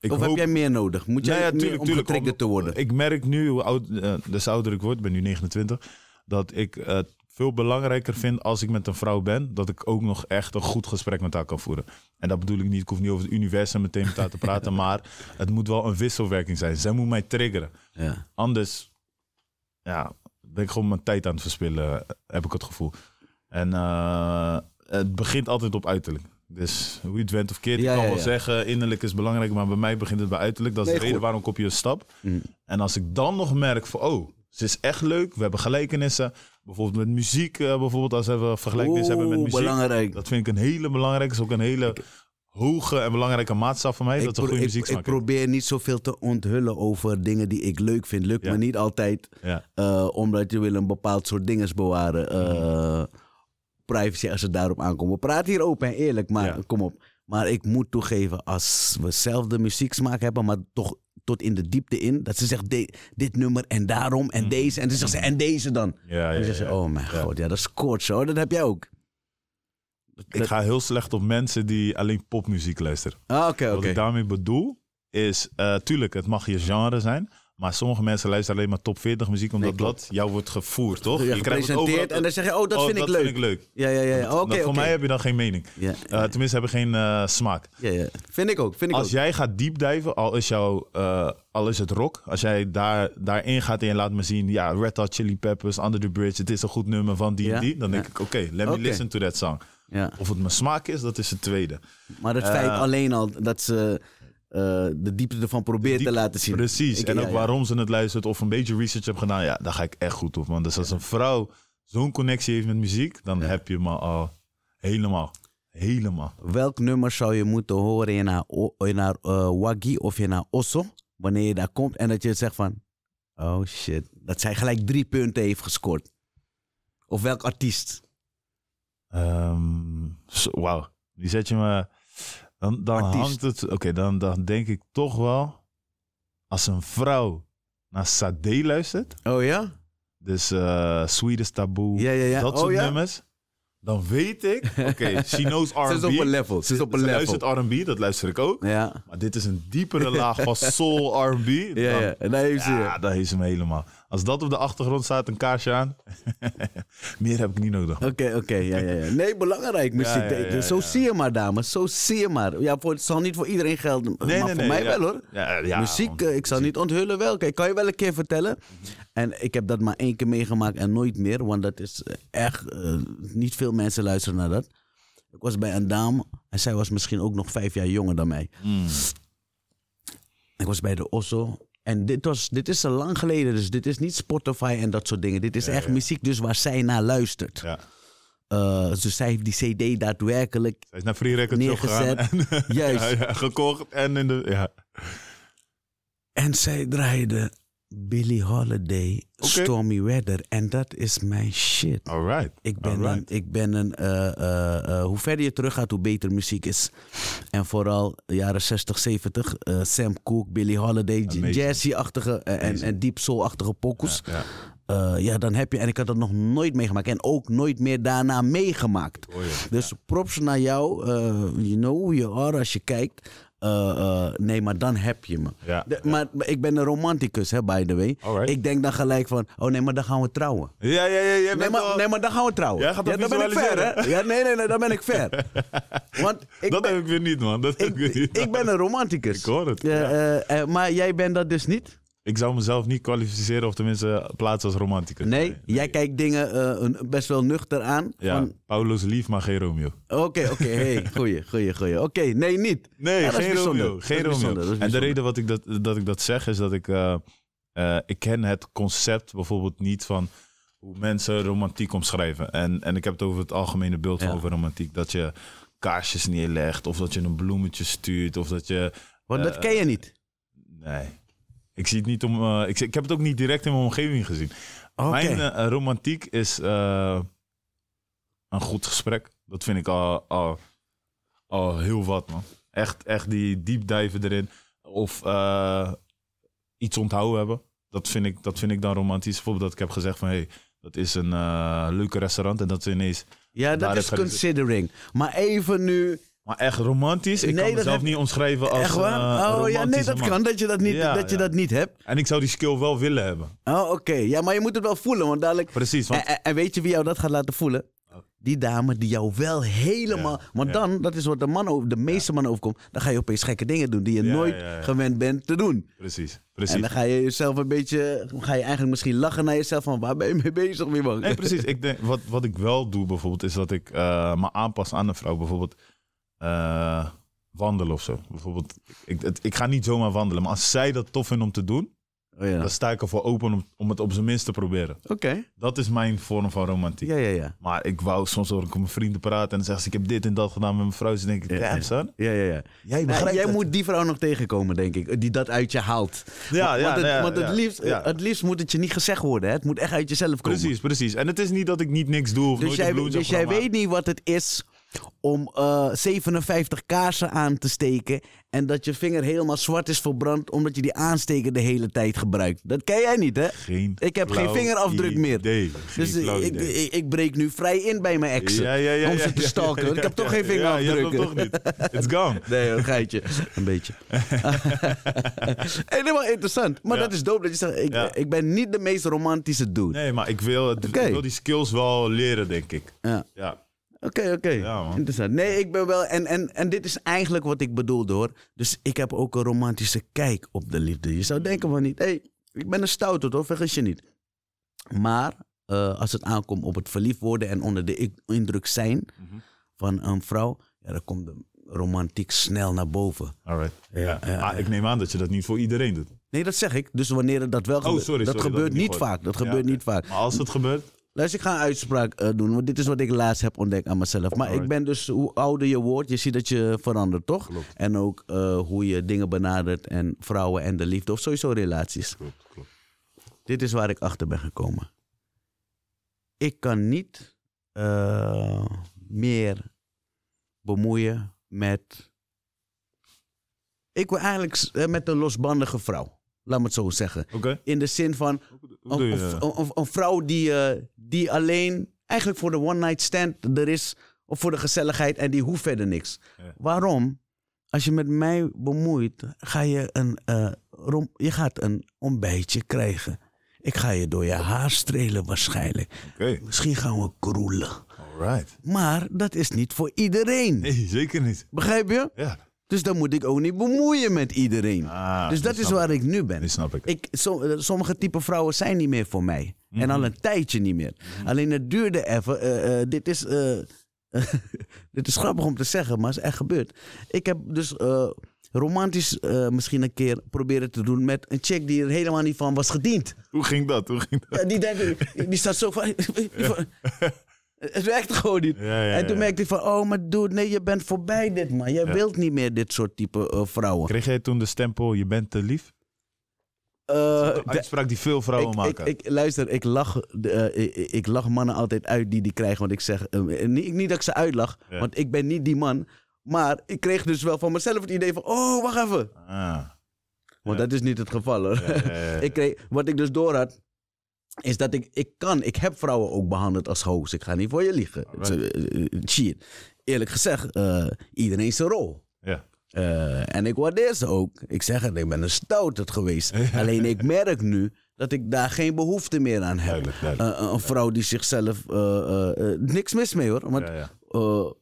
Speaker 2: ik
Speaker 1: of
Speaker 2: hoop-
Speaker 1: heb jij meer nodig? Moet jij
Speaker 2: Nou ja,
Speaker 1: meer
Speaker 2: tuurlijk,
Speaker 1: om
Speaker 2: tuurlijk,
Speaker 1: getriggerd
Speaker 2: om-
Speaker 1: te worden?
Speaker 2: Ik merk nu, hoe oud, eh, des ouder ik word, ik ben nu 29, dat ik het veel belangrijker vind als ik met een vrouw ben, dat ik ook nog echt een goed gesprek met haar kan voeren. En dat bedoel ik niet, ik hoef niet over het universum meteen met haar te praten, maar het moet wel een wisselwerking zijn. Zij moet mij triggeren.
Speaker 1: ja.
Speaker 2: Anders ja, ben ik gewoon mijn tijd aan het verspillen, heb ik het gevoel. En eh, het begint altijd op uiterlijk. Dus hoe je het went of keert,
Speaker 1: Ja,
Speaker 2: ik kan
Speaker 1: ja,
Speaker 2: wel
Speaker 1: ja.
Speaker 2: zeggen, innerlijk is belangrijk, maar bij mij begint het bij uiterlijk. Dat is
Speaker 1: Nee,
Speaker 2: de reden
Speaker 1: goed.
Speaker 2: waarom ik op je stap.
Speaker 1: Mm.
Speaker 2: En als ik dan nog merk van, oh, ze is echt leuk, we hebben gelijkenissen. Bijvoorbeeld met muziek, eh, bijvoorbeeld als we vergelijkenissen hebben met
Speaker 1: Oeh,
Speaker 2: muziek.
Speaker 1: belangrijk.
Speaker 2: Dat vind ik een hele belangrijke, is ook een hele hoge en belangrijke maatstaf voor mij, dat
Speaker 1: Ik,
Speaker 2: is een
Speaker 1: pro-
Speaker 2: goede
Speaker 1: ik,
Speaker 2: muziek
Speaker 1: ik probeer niet zoveel te onthullen over dingen die ik leuk vind. Lukt
Speaker 2: Ja.
Speaker 1: me niet altijd,
Speaker 2: Ja.
Speaker 1: eh, omdat je wil een bepaald soort dinges bewaren. Eh, privacy als het daarop aankomt. We praten hier open en eerlijk, maar
Speaker 2: Ja.
Speaker 1: kom op. Maar ik moet toegeven, als we zelf de muzieksmaak hebben, maar toch tot in de diepte in, dat ze zegt de- dit nummer en daarom en deze. En dan zegt ze, en deze dan.
Speaker 2: Mm. Ja, ja,
Speaker 1: En dan
Speaker 2: ja,
Speaker 1: zegt ze,
Speaker 2: ja.
Speaker 1: oh mijn god, ja, dat scoort zo. Dat heb jij ook.
Speaker 2: Ik ga heel slecht op mensen die alleen popmuziek luisteren.
Speaker 1: Ah, Oké,
Speaker 2: Wat
Speaker 1: oké.
Speaker 2: ik daarmee bedoel is, eh, tuurlijk, het mag je genre zijn. Maar sommige mensen luisteren alleen maar top 40 muziek, omdat
Speaker 1: Nee, klopt.
Speaker 2: dat jou wordt gevoerd, toch?
Speaker 1: Ja,
Speaker 2: krijgt het
Speaker 1: gepresenteerd en dan zeg je, oh, dat
Speaker 2: oh,
Speaker 1: vind ik
Speaker 2: dat
Speaker 1: leuk.
Speaker 2: vind ik leuk.
Speaker 1: Ja, ja, ja. ja. Oké,
Speaker 2: Dan voor
Speaker 1: oké.
Speaker 2: mij heb je dan geen mening.
Speaker 1: Ja,
Speaker 2: Eh, tenminste, hebben geen eh, smaak.
Speaker 1: ja, ja. Vind ik ook, vind ik ook.
Speaker 2: Als jij gaat diepdijven, al is, jouw, eh, al is het rock, als jij daar, daarin gaat en je laat me zien, ja, Red Hot Chili Peppers, Under the Bridge, het is een goed nummer van die en
Speaker 1: Ja?
Speaker 2: die, dan denk ik, oké, let me
Speaker 1: Oké.
Speaker 2: listen to that song.
Speaker 1: Ja.
Speaker 2: Of het mijn smaak is, dat is het tweede.
Speaker 1: Maar het feit alleen al dat ze eh, de diepte ervan probeert te
Speaker 2: Diep-
Speaker 1: laten zien.
Speaker 2: Precies.
Speaker 1: Ik-
Speaker 2: en
Speaker 1: ja,
Speaker 2: ook
Speaker 1: ja.
Speaker 2: waarom ze het luistert of een beetje research hebt gedaan, ja, daar ga ik echt goed op, man. Dus als een vrouw zo'n connectie heeft met muziek, dan heb je me al helemaal. Helemaal.
Speaker 1: Welk nummer zou je moeten horen in haar, o- in haar eh, Waggy of in haar Osso? Wanneer je daar komt en dat je zegt van... Oh shit. Dat zij gelijk drie punten heeft gescoord. Of welk artiest?
Speaker 2: Ehm, zo- Wauw, die zet je me... Dan, dan
Speaker 1: Artiest.
Speaker 2: hangt het... Oké, dan, dan denk ik toch wel... Als een vrouw naar Sade luistert...
Speaker 1: Oh ja?
Speaker 2: Dus eh Swedish Taboe,
Speaker 1: Ja, ja, ja.
Speaker 2: dat
Speaker 1: Oh,
Speaker 2: soort
Speaker 1: ja.
Speaker 2: nummers. Dan weet ik... Oké, she knows R&B.
Speaker 1: Ze is op een level. Ze is op een
Speaker 2: Ze
Speaker 1: level.
Speaker 2: luistert R&B, dat luister ik ook.
Speaker 1: Ja.
Speaker 2: Maar dit is een diepere laag van soul R&B.
Speaker 1: Ja, ja. En daar heeft ze
Speaker 2: Dan,
Speaker 1: je.
Speaker 2: ja, daar heeft ze me helemaal. Als dat op de achtergrond staat, een kaarsje aan. Meer heb ik niet nodig.
Speaker 1: Oké, oké, ja, ja, ja. Nee, belangrijk muziek.
Speaker 2: Ja, ja, ja,
Speaker 1: zo
Speaker 2: ja.
Speaker 1: zie je maar, dames. Zo zie je maar. Ja, voor, het zal niet voor iedereen gelden, maar voor mij
Speaker 2: ja.
Speaker 1: wel hoor.
Speaker 2: Ja, ja,
Speaker 1: muziek,
Speaker 2: want-
Speaker 1: eh, ik zal niet onthullen welke. Ik kan je wel een keer vertellen. En ik heb dat maar één keer meegemaakt en nooit meer. Want dat is eh, echt... eh, niet veel mensen luisteren naar dat. Ik was bij een dame en zij was misschien ook nog vijf jaar jonger dan mij.
Speaker 2: Mm.
Speaker 1: Ik was bij de Osso. En dit, was, dit is al lang geleden, dus dit is niet Spotify en dat soort dingen. Dit is
Speaker 2: Ja,
Speaker 1: echt
Speaker 2: ja.
Speaker 1: muziek dus waar zij naar luistert.
Speaker 2: Ja.
Speaker 1: Eh, dus zij heeft die cd daadwerkelijk
Speaker 2: Hij is naar Free Record Shop gegaan.
Speaker 1: Neergezet.
Speaker 2: En,
Speaker 1: Juist.
Speaker 2: Ja, ja, gekocht en in de... Ja.
Speaker 1: En zij draaide Billie Holiday,
Speaker 2: Oké.
Speaker 1: Stormy Weather. En dat is mijn shit.
Speaker 2: All right.
Speaker 1: Ik ben een,
Speaker 2: Alright.
Speaker 1: ik ben een eh, eh, eh, hoe verder je terug gaat, hoe beter muziek is. En vooral de jaren 60, 70, eh, Sam Cooke, Billie Holiday,
Speaker 2: Amazing.
Speaker 1: jazzy-achtige eh, en, en deep soul-achtige pokus.
Speaker 2: Ja,
Speaker 1: Eh, ja, dan heb je, en ik had dat nog nooit meegemaakt en ook nooit meer daarna meegemaakt.
Speaker 2: Hoor je.
Speaker 1: Dus props naar jou, eh you know who you are als je kijkt. Eh, eh, nee, maar dan heb je me.
Speaker 2: Ja,
Speaker 1: De-
Speaker 2: ja.
Speaker 1: Maar maar ik ben een romanticus, hè, by the way.
Speaker 2: Alright.
Speaker 1: Ik denk dan gelijk van, oh nee, maar dan gaan we trouwen.
Speaker 2: ja, ja, ja, jij
Speaker 1: Nee
Speaker 2: bent wel-
Speaker 1: maar, nee, maar dan gaan we trouwen.
Speaker 2: Jij gaat
Speaker 1: ja,
Speaker 2: dat
Speaker 1: dan ben ik ver, hè? Ja, nee, nee, nee, dan ben ik ver. Want ik,
Speaker 2: dat
Speaker 1: ben,
Speaker 2: heb ik weer niet, man. Dat heb ik,
Speaker 1: ik,
Speaker 2: weer niet.
Speaker 1: ik ben een romanticus.
Speaker 2: Ik hoor het,
Speaker 1: Eh,
Speaker 2: ja.
Speaker 1: eh, eh, maar jij bent dat dus niet?
Speaker 2: Ik zou mezelf niet kwalificeren, of tenminste plaatsen als romanticus.
Speaker 1: Nee, jij kijkt dingen eh, een- best wel nuchter aan.
Speaker 2: Ja,
Speaker 1: van,
Speaker 2: Paulo's lief, maar geen Romeo.
Speaker 1: Oké, oké, hey, goeie, goeie, goeie. Oké, nee, niet.
Speaker 2: Nee,
Speaker 1: Ja, dat is
Speaker 2: geen
Speaker 1: bijzonder.
Speaker 2: Romeo.
Speaker 1: Dat
Speaker 2: Geen
Speaker 1: is bijzonder, dat
Speaker 2: Romeo.
Speaker 1: is
Speaker 2: En de
Speaker 1: bijzonder.
Speaker 2: reden wat ik dat, dat ik dat zeg is dat ik. eh, eh, ik ken het concept bijvoorbeeld niet van hoe mensen romantiek omschrijven. En, en ik heb het over het algemene beeld van
Speaker 1: Ja.
Speaker 2: over romantiek. Dat je kaarsjes neerlegt, of dat je een bloemetje stuurt, of dat je.
Speaker 1: Want dat
Speaker 2: Eh,
Speaker 1: ken je niet.
Speaker 2: Nee. Ik, zie het niet om, eh, ik, zie- ik heb het ook niet direct in mijn omgeving gezien.
Speaker 1: Oké.
Speaker 2: Mijn eh, romantiek is eh, een goed gesprek. Dat vind ik al, al, al heel wat, man. Echt, echt die diepdijven erin. Of eh, iets onthouden hebben. Dat vind, ik, dat vind ik dan romantisch. Bijvoorbeeld dat ik heb gezegd van... Hey, dat is een eh leuke restaurant. En dat is ineens...
Speaker 1: Ja, dat
Speaker 2: daar
Speaker 1: is
Speaker 2: heb ik-
Speaker 1: considering. Maar even nu.
Speaker 2: Maar echt romantisch. Ik
Speaker 1: Nee,
Speaker 2: kan
Speaker 1: dat
Speaker 2: mezelf
Speaker 1: heb-
Speaker 2: niet omschrijven als
Speaker 1: echt
Speaker 2: een,
Speaker 1: waar? oh
Speaker 2: eh,
Speaker 1: ja, nee,
Speaker 2: romantische
Speaker 1: dat
Speaker 2: man.
Speaker 1: kan. Dat je dat niet,
Speaker 2: Ja,
Speaker 1: dat, je
Speaker 2: ja.
Speaker 1: dat niet hebt.
Speaker 2: En ik zou die skill wel willen hebben.
Speaker 1: Oh, oké. Ja, maar je moet het wel voelen, want dadelijk.
Speaker 2: Precies. Want Oh.
Speaker 1: En, en- en weet je wie jou dat gaat laten voelen? Die dame die jou wel helemaal.
Speaker 2: Ja,
Speaker 1: Want
Speaker 2: ja.
Speaker 1: dan, dat is wat de, man, over- de meeste man overkomt. Dan ga je opeens gekke dingen doen die je
Speaker 2: Ja,
Speaker 1: nooit
Speaker 2: ja, ja.
Speaker 1: gewend bent te doen.
Speaker 2: Precies, precies.
Speaker 1: En dan ga je jezelf een beetje. Ga je eigenlijk misschien lachen naar jezelf van waar ben je mee bezig, wie man?
Speaker 2: Nee, precies. Ik denk, wat, wat ik wel doe bijvoorbeeld, is dat ik eh, me aanpas aan een vrouw. Bijvoorbeeld eh, wandelen of zo. Bijvoorbeeld, ik, het- ik ga niet zomaar wandelen. Maar als zij dat tof vindt om te doen,
Speaker 1: Oh, ja.
Speaker 2: dan sta ik ervoor open om, om het op zijn minst te proberen.
Speaker 1: Oké.
Speaker 2: Dat is mijn vorm van romantiek.
Speaker 1: Ja, ja, ja.
Speaker 2: Maar ik wou soms hoor ik met mijn vrienden praten en dan zeggen ze, ik heb dit en dat gedaan met mijn vrouw. Ze denken,
Speaker 1: Ja,
Speaker 2: damn
Speaker 1: ja.
Speaker 2: son.
Speaker 1: Ja, ja, ja.
Speaker 2: Jij
Speaker 1: Nou,
Speaker 2: begrijpt
Speaker 1: jij
Speaker 2: het.
Speaker 1: moet die vrouw nog tegenkomen, denk ik. Die dat uit je haalt.
Speaker 2: Ja,
Speaker 1: want,
Speaker 2: ja,
Speaker 1: want het,
Speaker 2: nou ja,
Speaker 1: want het,
Speaker 2: ja,
Speaker 1: liefst,
Speaker 2: ja.
Speaker 1: het liefst moet het je niet gezegd worden. Hè? Het moet echt uit jezelf komen.
Speaker 2: Precies, precies. En het is niet dat ik niet niks doe of
Speaker 1: Dus
Speaker 2: nooit een
Speaker 1: jij,
Speaker 2: bloemetje
Speaker 1: dus jij
Speaker 2: heb gedaan,
Speaker 1: weet niet wat het is om eh, 57 kaarsen aan te steken. En dat je vinger helemaal zwart is verbrand omdat je die aansteker de hele tijd gebruikt. Dat ken jij niet, hè?
Speaker 2: maar Geen
Speaker 1: Ik heb geen
Speaker 2: flauw
Speaker 1: vingerafdruk meer.
Speaker 2: idee. Geen
Speaker 1: Dus
Speaker 2: flauw
Speaker 1: ik, ik,
Speaker 2: idee.
Speaker 1: ik, breek nu vrij in bij mijn exen.
Speaker 2: Ja, ja, ja,
Speaker 1: om
Speaker 2: ja,
Speaker 1: ze te
Speaker 2: ja,
Speaker 1: stalken.
Speaker 2: ja,
Speaker 1: want ik heb
Speaker 2: ja,
Speaker 1: toch geen
Speaker 2: ja,
Speaker 1: vingerafdrukken.
Speaker 2: Ja, je hebt hem toch niet. It's gone.
Speaker 1: Nee, een geitje. Een beetje. Helemaal interessant. Maar
Speaker 2: Ja.
Speaker 1: dat is dope dat je zegt, ik,
Speaker 2: Ja.
Speaker 1: ik ben niet de meest romantische dude.
Speaker 2: Nee, maar ik wil, het-
Speaker 1: Oké.
Speaker 2: ik wil die skills wel leren, denk ik.
Speaker 1: Ja.
Speaker 2: Ja,
Speaker 1: Oké, oké.
Speaker 2: Ja, man.
Speaker 1: Interessant. Nee, ik ben wel. En, en, en dit is eigenlijk wat ik bedoelde hoor. Dus ik heb ook een romantische kijk op de liefde. Je
Speaker 2: Mm.
Speaker 1: zou denken van niet, hé, hey, ik ben een stoute hoor, vergis je niet. Maar eh, als het aankomt op het verliefd worden en onder de ik- indruk zijn
Speaker 2: Mhm.
Speaker 1: van een vrouw, ja, dan komt de romantiek snel naar boven.
Speaker 2: alright. Ja.
Speaker 1: ja,
Speaker 2: maar ik neem aan dat je dat niet voor iedereen doet.
Speaker 1: Nee, dat zeg ik. Dus wanneer het dat wel gebeurt.
Speaker 2: Oh, sorry,
Speaker 1: dat
Speaker 2: sorry, dat
Speaker 1: gebeurt
Speaker 2: ik niet
Speaker 1: niet
Speaker 2: gehoord.
Speaker 1: vaak. Dat
Speaker 2: Ja,
Speaker 1: gebeurt
Speaker 2: oké.
Speaker 1: niet vaak.
Speaker 2: Maar als het gebeurt,
Speaker 1: Luister, ik ga een uitspraak eh, doen. Want dit is wat ik laatst heb ontdekt aan mezelf. Maar ik
Speaker 2: Alright.
Speaker 1: ben dus, hoe ouder je wordt, je ziet dat je verandert, toch?
Speaker 2: Klopt.
Speaker 1: En ook eh, hoe je dingen benadert en vrouwen en de liefde. Of sowieso relaties.
Speaker 2: klopt, klopt.
Speaker 1: Dit is waar ik achter ben gekomen. Ik kan niet eh, meer bemoeien met. Ik wil eigenlijk s- eh, met een losbandige vrouw. Laat me het zo zeggen.
Speaker 2: Oké.
Speaker 1: In de zin van
Speaker 2: Hoe
Speaker 1: een,
Speaker 2: doe je
Speaker 1: een-
Speaker 2: dat?
Speaker 1: een- een- een vrouw die, eh, die alleen eigenlijk voor de one night stand er is. Of voor de gezelligheid en die hoeft verder niks.
Speaker 2: Ja.
Speaker 1: Waarom? Als je met mij bemoeit, ga je een, eh, rom- je gaat een ontbijtje krijgen. Ik ga je door je haar strelen waarschijnlijk.
Speaker 2: Oké,
Speaker 1: Misschien gaan we kroelen.
Speaker 2: alright.
Speaker 1: Maar dat is niet voor iedereen.
Speaker 2: Nee, zeker niet.
Speaker 1: Begrijp je?
Speaker 2: Ja.
Speaker 1: Dus dan moet ik ook niet bemoeien met iedereen.
Speaker 2: Ah,
Speaker 1: dus dat
Speaker 2: nu
Speaker 1: is
Speaker 2: snap
Speaker 1: waar ik nu ben.
Speaker 2: Nu snap ik.
Speaker 1: Ik, so- eh, sommige type vrouwen zijn niet meer voor mij. En
Speaker 2: Mhm.
Speaker 1: al een tijdje niet meer. Alleen het duurde even. eh, eh, dit, is, eh, dit is grappig om te zeggen, maar het is echt gebeurd. Ik heb dus eh, romantisch eh, misschien een keer proberen te doen met een chick die er helemaal niet van was gediend.
Speaker 2: Hoe ging dat? Hoe ging dat?
Speaker 1: Ja, die, denkt, die staat zo van. Het werkt gewoon niet.
Speaker 2: Ja, ja,
Speaker 1: en toen
Speaker 2: ja.
Speaker 1: merkte ik van, oh, maar dude, nee, je bent voorbij dit, man. Jij wilt niet meer dit soort type eh, vrouwen.
Speaker 2: Kreeg jij toen de stempel, je bent te lief?
Speaker 1: Eh,
Speaker 2: Een uitspraak die veel vrouwen
Speaker 1: ik, ik,
Speaker 2: maken.
Speaker 1: ik, luister, ik lach, de, eh, ik, ik- ik lach mannen altijd uit die die krijgen. Want ik zeg, eh, niet, niet dat ik ze uitlach,
Speaker 2: Ja.
Speaker 1: want ik ben niet die man. Maar ik kreeg dus wel van mezelf het idee van, oh, wacht even.
Speaker 2: Ah,
Speaker 1: Want
Speaker 2: Ja.
Speaker 1: dat is niet het geval, hoor.
Speaker 2: ja, ja, ja.
Speaker 1: ik kreeg, wat ik dus door had, is dat ik, ik kan, ik heb vrouwen ook behandeld als hoos. Ik ga niet voor je liegen.
Speaker 2: Alright.
Speaker 1: Ze- eh, eh, Shit. Eerlijk gezegd, eh, iedereen zijn rol.
Speaker 2: ja.
Speaker 1: Eh, en ik waardeer ze ook. Ik zeg het, ik ben een stouterd geweest. Alleen ik merk nu dat ik daar geen behoefte meer aan heb.
Speaker 2: Duidelijk, duidelijk.
Speaker 1: Eh, eh, een vrouw die zichzelf... eh, eh, eh, niks mis mee hoor. Want
Speaker 2: ja, ja.
Speaker 1: eh,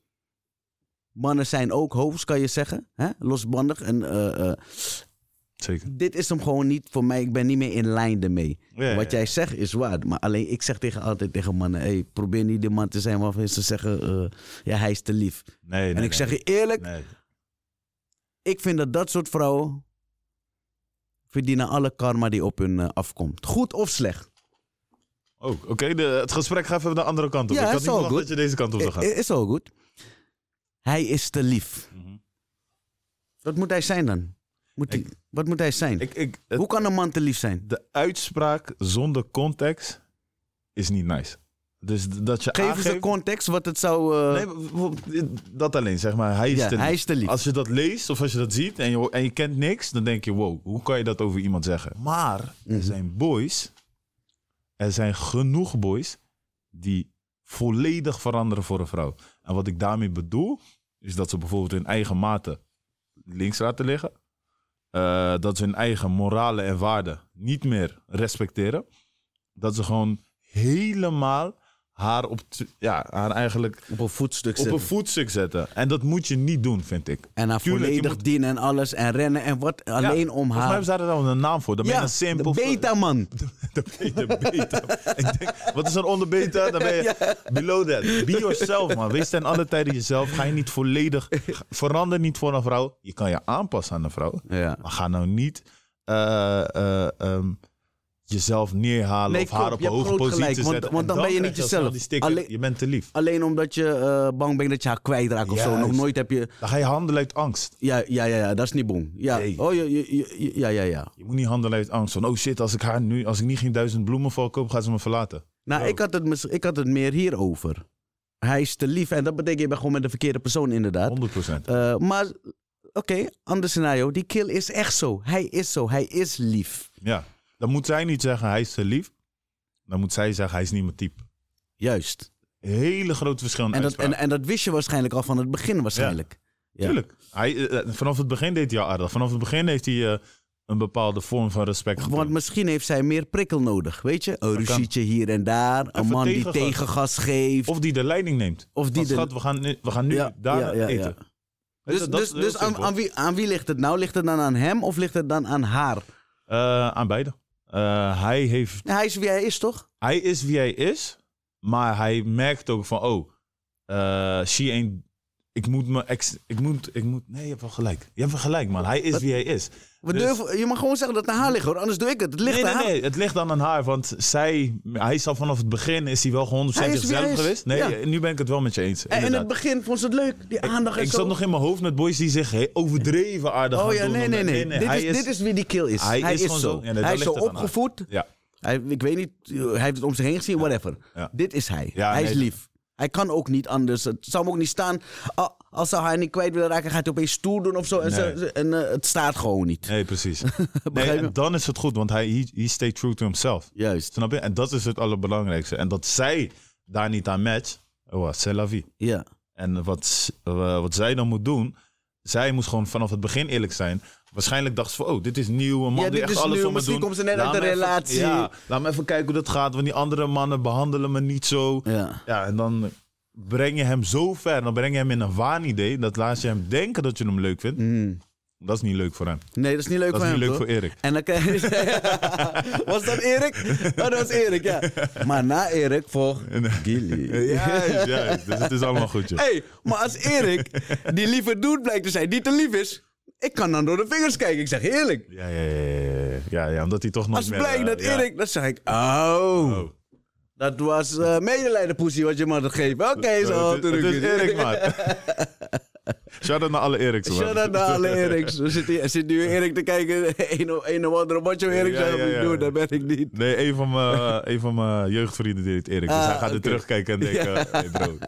Speaker 1: mannen zijn ook hoofds, kan je zeggen. Hè? Losbandig. En, eh, eh,
Speaker 2: Zeker.
Speaker 1: dit is hem gewoon niet voor mij. Ik ben niet meer in lijn ermee.
Speaker 2: Ja,
Speaker 1: Wat
Speaker 2: ja.
Speaker 1: jij zegt is waar. Maar alleen ik zeg tegen, altijd tegen mannen... Hey, probeer niet de man te zijn waarvan ze zeggen... eh, ja, hij is te lief.
Speaker 2: Nee, nee,
Speaker 1: en ik
Speaker 2: nee.
Speaker 1: zeg je eerlijk...
Speaker 2: Nee.
Speaker 1: ik vind dat dat soort vrouwen verdienen alle karma die op hun eh, afkomt. Goed of slecht.
Speaker 2: Oh, oké. de- Het gesprek gaat even de andere kant op.
Speaker 1: Ja,
Speaker 2: ik
Speaker 1: is
Speaker 2: had niet
Speaker 1: wel
Speaker 2: verwacht
Speaker 1: goed. Eh,
Speaker 2: dat je deze kant op zou gaan.
Speaker 1: I- i- Is al goed. Hij is te lief.
Speaker 2: Mhm.
Speaker 1: Wat moet hij zijn dan? Moet
Speaker 2: Ik-
Speaker 1: hij- wat moet hij zijn?
Speaker 2: Ik, ik, het-
Speaker 1: eh, Hoe kan een man te lief zijn?
Speaker 2: de uitspraak zonder context is niet nice. Dus d- dat je
Speaker 1: Geef eens
Speaker 2: aangeeft...
Speaker 1: een context wat het zou... eh,
Speaker 2: Nee, maar bijvoorbeeld, dat alleen, zeg maar. Hij is,
Speaker 1: ja,
Speaker 2: te lief.
Speaker 1: hij is te lief.
Speaker 2: Als je dat leest of als je dat ziet en je, en je kent niks, dan denk je, wow, hoe kan je dat over iemand zeggen? Maar er
Speaker 1: Mhm.
Speaker 2: zijn boys, er zijn genoeg boys die volledig veranderen voor een vrouw. En wat ik daarmee bedoel, is dat ze bijvoorbeeld hun eigen maten links laten liggen. Eh, dat ze hun eigen moralen en waarden niet meer respecteren. Dat ze gewoon helemaal haar op, t- ja, haar eigenlijk
Speaker 1: Op een voetstuk
Speaker 2: op
Speaker 1: zitten.
Speaker 2: een voetstuk zetten. En dat moet je niet doen, vind ik.
Speaker 1: en haar
Speaker 2: Tuurlijk, je
Speaker 1: volledig
Speaker 2: moet-
Speaker 1: dienen en alles en rennen en wat. Alleen
Speaker 2: Ja,
Speaker 1: om
Speaker 2: Volgens mij
Speaker 1: haar.
Speaker 2: hebben ze daar dan een naam voor. Dan ben je
Speaker 1: Ja,
Speaker 2: een simpel...
Speaker 1: de beta-man.
Speaker 2: De beta, beta. ik denk, wat is een onder beta? Dan ben je below that. Be yourself, man. Wees ten alle tijde jezelf. Ga je niet volledig... ga- Verander niet voor een vrouw. Je kan je aanpassen aan een vrouw.
Speaker 1: Ja.
Speaker 2: Maar ga nou niet eh, eh, ehm, jezelf neerhalen
Speaker 1: Nee,
Speaker 2: of haar
Speaker 1: klopt.
Speaker 2: op
Speaker 1: Je
Speaker 2: een
Speaker 1: hebt
Speaker 2: hoge
Speaker 1: groot
Speaker 2: positie
Speaker 1: gelijk, want-
Speaker 2: zetten.
Speaker 1: want
Speaker 2: En
Speaker 1: dan ben je niet
Speaker 2: krijg al snel
Speaker 1: jezelf.
Speaker 2: Die sticker,
Speaker 1: Alleen-
Speaker 2: je bent te lief.
Speaker 1: Alleen omdat je eh, bang bent dat je haar kwijtraakt of zo. Nog
Speaker 2: Juist.
Speaker 1: nooit heb je.
Speaker 2: Dan ga je handelen uit angst.
Speaker 1: Ja, ja, ja, ja dat is niet boem. Ja,
Speaker 2: Nee.
Speaker 1: oh, je, je- je- ja, ja, ja.
Speaker 2: Je moet niet handelen uit angst. Van, oh shit, als ik haar nu... Als ik niet geen duizend bloemen voor haar koop, gaat ze me verlaten.
Speaker 1: Nou,
Speaker 2: Oh.
Speaker 1: ik, had het, mis- ik had het meer hierover. Hij is te lief en dat betekent je bent gewoon met de verkeerde persoon inderdaad.
Speaker 2: 100 procent.
Speaker 1: Eh, maar oké, ander scenario. Die kill is echt zo. Hij is zo. Hij is lief.
Speaker 2: Ja. Dan moet zij niet zeggen, hij is te lief. Dan moet zij zeggen, hij is niet mijn type.
Speaker 1: Juist.
Speaker 2: Hele groot verschil in
Speaker 1: En dat,
Speaker 2: uitspraak.
Speaker 1: en, en dat wist je waarschijnlijk al van het begin waarschijnlijk. ja.
Speaker 2: Tuurlijk. Hij, eh, eh, vanaf het begin deed hij al aardig. Vanaf het begin heeft hij eh, een bepaalde vorm van respect
Speaker 1: Want
Speaker 2: getoond.
Speaker 1: misschien heeft zij meer prikkel nodig, weet je? Een
Speaker 2: kan.
Speaker 1: ruzietje hier en daar. Een
Speaker 2: Even
Speaker 1: man die
Speaker 2: tegengas.
Speaker 1: tegengas geeft.
Speaker 2: Of die de leiding neemt.
Speaker 1: Of die
Speaker 2: Van,
Speaker 1: de-
Speaker 2: schat, we gaan nu, we gaan nu
Speaker 1: Ja,
Speaker 2: daar
Speaker 1: ja, ja,
Speaker 2: eten.
Speaker 1: ja.
Speaker 2: Weet
Speaker 1: Dus,
Speaker 2: je, dat
Speaker 1: dus,
Speaker 2: is heel
Speaker 1: dus aan,
Speaker 2: simpel.
Speaker 1: aan, wie, aan wie ligt het nou? Ligt het dan aan hem of ligt het dan aan haar?
Speaker 2: Eh, aan beide. Eh, hij, heeft,
Speaker 1: Nou, hij is wie hij is, toch?
Speaker 2: hij is wie hij is. Maar hij merkt ook van, oh, eh, she ain't... Ik moet me ex... Ik moet, ik moet... Nee, je hebt wel gelijk. Je hebt wel gelijk, man. Hij is wie hij is.
Speaker 1: We
Speaker 2: Dus-
Speaker 1: durven, je mag gewoon zeggen dat het aan haar ligt, hoor. Anders doe ik het. Het ligt
Speaker 2: nee,
Speaker 1: aan
Speaker 2: nee,
Speaker 1: haar.
Speaker 2: nee, het ligt dan aan haar. Want zij, hij is al vanaf het begin is hij wel gewoon 100%
Speaker 1: Hij is wie hij
Speaker 2: zichzelf
Speaker 1: is,
Speaker 2: geweest. Nee,
Speaker 1: ja.
Speaker 2: nu ben ik het wel met je eens.
Speaker 1: En in het
Speaker 2: inderdaad.
Speaker 1: begin vond ze het leuk. Die aandacht en
Speaker 2: ik
Speaker 1: zo.
Speaker 2: zat nog in mijn hoofd met boys die zich he- overdreven aardig
Speaker 1: Oh
Speaker 2: gaan
Speaker 1: ja,
Speaker 2: doen.
Speaker 1: nee, nee,
Speaker 2: omdat-
Speaker 1: nee. Dit,
Speaker 2: hij
Speaker 1: is, dit is wie die kill is. Hij, is, zo.
Speaker 2: Ja,
Speaker 1: hij
Speaker 2: nee, dat
Speaker 1: is zo
Speaker 2: ligt het aan haar.
Speaker 1: opgevoed.
Speaker 2: Ja,
Speaker 1: Hij, ik weet niet, eh, hij heeft het om zich heen gezien, whatever.
Speaker 2: Ja.
Speaker 1: Dit is hij.
Speaker 2: Ja,
Speaker 1: hij is
Speaker 2: nee,
Speaker 1: lief. Hij kan ook niet anders. Het zou hem ook niet staan. Al- als zou hij haar niet kwijt willen raken, gaat hij opeens stoer doen of zo. En,
Speaker 2: Nee.
Speaker 1: zo- en eh, het staat gewoon niet.
Speaker 2: Nee, precies. nee,
Speaker 1: Begrijp je?
Speaker 2: en dan is het goed, want hij he, he stayed true to himself.
Speaker 1: Juist.
Speaker 2: Snap je? En dat is het allerbelangrijkste. En dat zij daar niet aan matcht, oh, c'est la vie.
Speaker 1: Ja.
Speaker 2: En wat, s- eh, wat zij dan moet doen, zij moest gewoon vanaf het begin eerlijk zijn. Waarschijnlijk dacht ze van, oh, dit is nieuw, een man
Speaker 1: Ja,
Speaker 2: die
Speaker 1: dit
Speaker 2: echt
Speaker 1: is
Speaker 2: alles
Speaker 1: nieuw,
Speaker 2: voor me
Speaker 1: misschien
Speaker 2: doet.
Speaker 1: komt ze net
Speaker 2: Laat
Speaker 1: uit een
Speaker 2: me even-
Speaker 1: relatie.
Speaker 2: ja, laat me even kijken hoe dat gaat, want die andere mannen behandelen me niet zo.
Speaker 1: Ja.
Speaker 2: Ja, en dan breng je hem zo ver, dan breng je hem in een waanidee, dat laat je hem denken dat je hem leuk vindt.
Speaker 1: Mm.
Speaker 2: Dat is niet leuk voor hem.
Speaker 1: Nee, dat is niet leuk
Speaker 2: Dat
Speaker 1: voor
Speaker 2: is
Speaker 1: hem.
Speaker 2: niet leuk
Speaker 1: toch?
Speaker 2: voor Erik.
Speaker 1: En dan krijg je... was dat Erik? Oh, dat was Erik, ja. Maar na Erik volgt Gilly.
Speaker 2: Juist, juist. Dus het is allemaal goed, joh.
Speaker 1: Hé, hey, maar als Erik, die lieve dude blijkt te zijn, die te lief is... Ik kan dan door de vingers kijken, ik zeg eerlijk.
Speaker 2: Ja, ja, ja, ja, ja, ja, omdat hij toch nog
Speaker 1: Als
Speaker 2: meer,
Speaker 1: blijkt
Speaker 2: eh,
Speaker 1: dat
Speaker 2: ja.
Speaker 1: Erik, dan zeg ik... Oh,
Speaker 2: Oh.
Speaker 1: dat was eh medelijdenpoesie wat je me had gegeven. Oké, zo.
Speaker 2: Eh, het, is- het is Erik, man. Shout-out naar alle Eriks, man.
Speaker 1: Shout-out naar alle Eriks. Er zit, hier- er zit nu Erik te kijken. Een, of- een of andere macho Erik
Speaker 2: Ja,
Speaker 1: zou
Speaker 2: ja,
Speaker 1: ik niet
Speaker 2: ja.
Speaker 1: doen, dat ben ik niet.
Speaker 2: Nee, een van mijn, een van mijn jeugdvrienden deed Erik. Dus
Speaker 1: Ah,
Speaker 2: hij gaat
Speaker 1: oké.
Speaker 2: er terugkijken en denken, hey bro.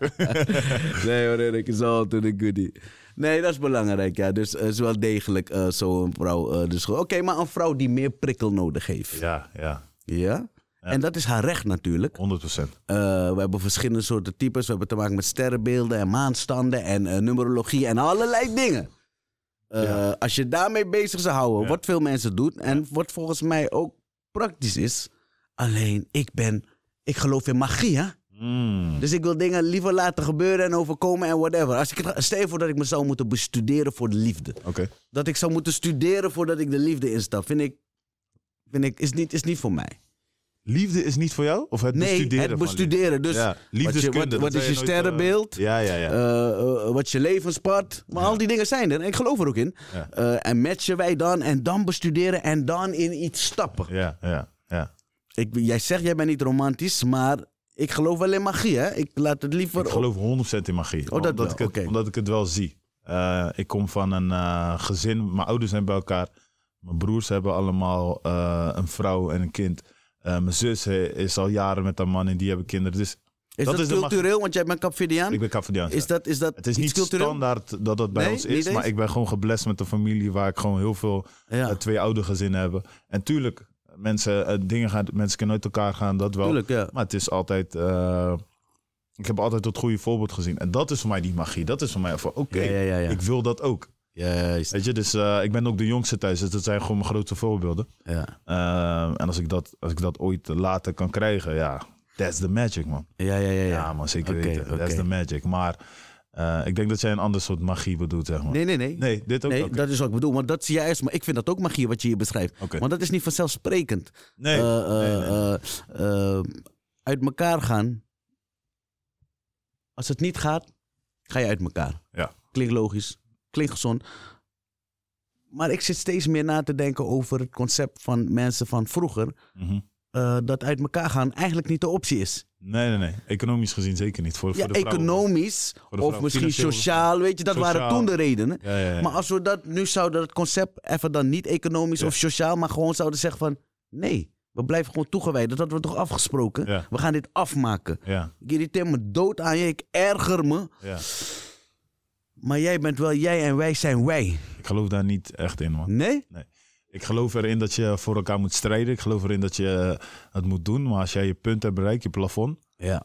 Speaker 1: Nee hoor, Erik is altijd een goodie. Nee, dat is belangrijk, ja. Dus eh, is wel degelijk eh, zo'n vrouw. eh, dus, gewoon- Oké, maar een vrouw die meer prikkel nodig heeft.
Speaker 2: Ja, ja,
Speaker 1: Ja? En dat is haar recht natuurlijk.
Speaker 2: 100%.
Speaker 1: Eh, we hebben verschillende soorten types. We hebben te maken met sterrenbeelden en maanstanden en eh, numerologie en allerlei dingen. Eh,
Speaker 2: Ja.
Speaker 1: Als je daarmee bezig zou houden,
Speaker 2: Ja.
Speaker 1: wat veel mensen doen en wat volgens mij ook praktisch is. Alleen, ik ben, ik geloof in magie, hè?
Speaker 2: Mm.
Speaker 1: Dus ik wil dingen liever laten gebeuren en overkomen en whatever. Als ik het, stel je voor dat ik me zou moeten bestuderen voor de liefde.
Speaker 2: Oké.
Speaker 1: Dat ik zou moeten studeren voordat ik de liefde instap. Vind ik, vind ik is, niet, is niet voor mij.
Speaker 2: Liefde is niet voor jou? Of het
Speaker 1: nee,
Speaker 2: bestuderen
Speaker 1: het
Speaker 2: van liefde?
Speaker 1: bestuderen. Dus
Speaker 2: ja,
Speaker 1: wat, je,
Speaker 2: liefdeskunde.
Speaker 1: wat,
Speaker 2: dat
Speaker 1: wat is
Speaker 2: zei
Speaker 1: je
Speaker 2: nooit, eh,
Speaker 1: sterrenbeeld?
Speaker 2: ja, ja, ja.
Speaker 1: Eh, eh, wat je levenspad. Maar al die dingen zijn er. En ik geloof er ook in.
Speaker 2: Ja.
Speaker 1: Eh, en matchen wij dan en dan bestuderen en dan in iets stappen.
Speaker 2: ja, ja, ja.
Speaker 1: Ik, jij zegt, jij bent niet romantisch, maar ik geloof wel in magie. Hè? Ik laat het liever...
Speaker 2: Ik geloof 100% in magie.
Speaker 1: Oh, dat
Speaker 2: omdat,
Speaker 1: wel,
Speaker 2: ik het,
Speaker 1: oké.
Speaker 2: omdat ik het wel zie. Eh, ik kom van een eh, gezin, mijn ouders zijn bij elkaar. Mijn broers hebben allemaal eh, een vrouw en een kind. Eh, mijn zus eh, is al jaren met haar man en die hebben kinderen. Dus
Speaker 1: is dat,
Speaker 2: dat is de magie.
Speaker 1: cultureel? Want jij bent Capverdiaan.
Speaker 2: ik ben Cafediaan.
Speaker 1: Is dat, is dat
Speaker 2: Het is
Speaker 1: iets
Speaker 2: niet
Speaker 1: cultureel?
Speaker 2: standaard dat dat bij
Speaker 1: Nee,
Speaker 2: ons
Speaker 1: niet
Speaker 2: is,
Speaker 1: eens?
Speaker 2: maar ik ben gewoon geblest met een familie waar ik gewoon heel veel
Speaker 1: Ja,
Speaker 2: eh, twee oude gezinnen hebben. En tuurlijk, mensen, eh, dingen gaan, mensen kunnen uit elkaar gaan, dat wel.
Speaker 1: tuurlijk, ja.
Speaker 2: Maar het is altijd. eh, ik heb altijd het goede voorbeeld gezien. En dat is voor mij die magie. Dat is voor mij van oké,
Speaker 1: ja, ja, ja.
Speaker 2: ik wil dat ook.
Speaker 1: Juist.
Speaker 2: Weet je, dus eh, ik ben ook de jongste thuis. Dus dat zijn gewoon mijn grote voorbeelden.
Speaker 1: Ja.
Speaker 2: Eh, en als ik, dat, als ik dat ooit later kan krijgen, ja, that's the magic, man.
Speaker 1: Ja, ja, ja, ja.
Speaker 2: Ja, man, zeker
Speaker 1: Oké,
Speaker 2: weten. That's
Speaker 1: oké.
Speaker 2: the magic. Maar eh, ik denk dat jij een ander soort magie bedoelt, zeg maar.
Speaker 1: Nee, nee, nee.
Speaker 2: Nee, dit ook
Speaker 1: Nee,
Speaker 2: Oké.
Speaker 1: dat is wat ik bedoel. Want dat zie jij juist. Maar ik vind dat ook magie wat je hier beschrijft.
Speaker 2: Oké.
Speaker 1: Want dat is niet vanzelfsprekend.
Speaker 2: Nee,
Speaker 1: Eh, eh,
Speaker 2: nee, nee.
Speaker 1: eh, eh, uit elkaar gaan. Als het niet gaat, ga je uit elkaar.
Speaker 2: Ja.
Speaker 1: Klinkt logisch. Klinkt gezond. Maar ik zit steeds meer na te denken over het concept van mensen van vroeger.
Speaker 2: Mhm.
Speaker 1: eh, dat uit elkaar gaan eigenlijk niet de optie is.
Speaker 2: nee, nee, nee. Economisch gezien zeker niet. Voor,
Speaker 1: Ja,
Speaker 2: voor de vrouwen.
Speaker 1: economisch
Speaker 2: Voor de
Speaker 1: of
Speaker 2: vrouw.
Speaker 1: misschien
Speaker 2: Financieel.
Speaker 1: sociaal, weet je, dat waren
Speaker 2: Sociaal.
Speaker 1: toen de redenen.
Speaker 2: Ja, ja, ja.
Speaker 1: Maar als we dat nu zouden, dat concept even dan niet economisch
Speaker 2: Ja.
Speaker 1: of sociaal, maar gewoon zouden zeggen van nee, we blijven gewoon toegewijd. Dat hadden we toch afgesproken?
Speaker 2: Ja.
Speaker 1: We gaan dit afmaken.
Speaker 2: ja,
Speaker 1: Ik irriteer me dood aan je, ik erger me.
Speaker 2: ja.
Speaker 1: Maar jij bent wel jij en wij zijn wij.
Speaker 2: Ik geloof daar niet echt in, man.
Speaker 1: Nee?
Speaker 2: Ik geloof erin dat je voor elkaar moet strijden. Ik geloof erin dat je eh, het moet doen. Maar als jij je punt hebt bereikt, je plafond.
Speaker 1: Ja.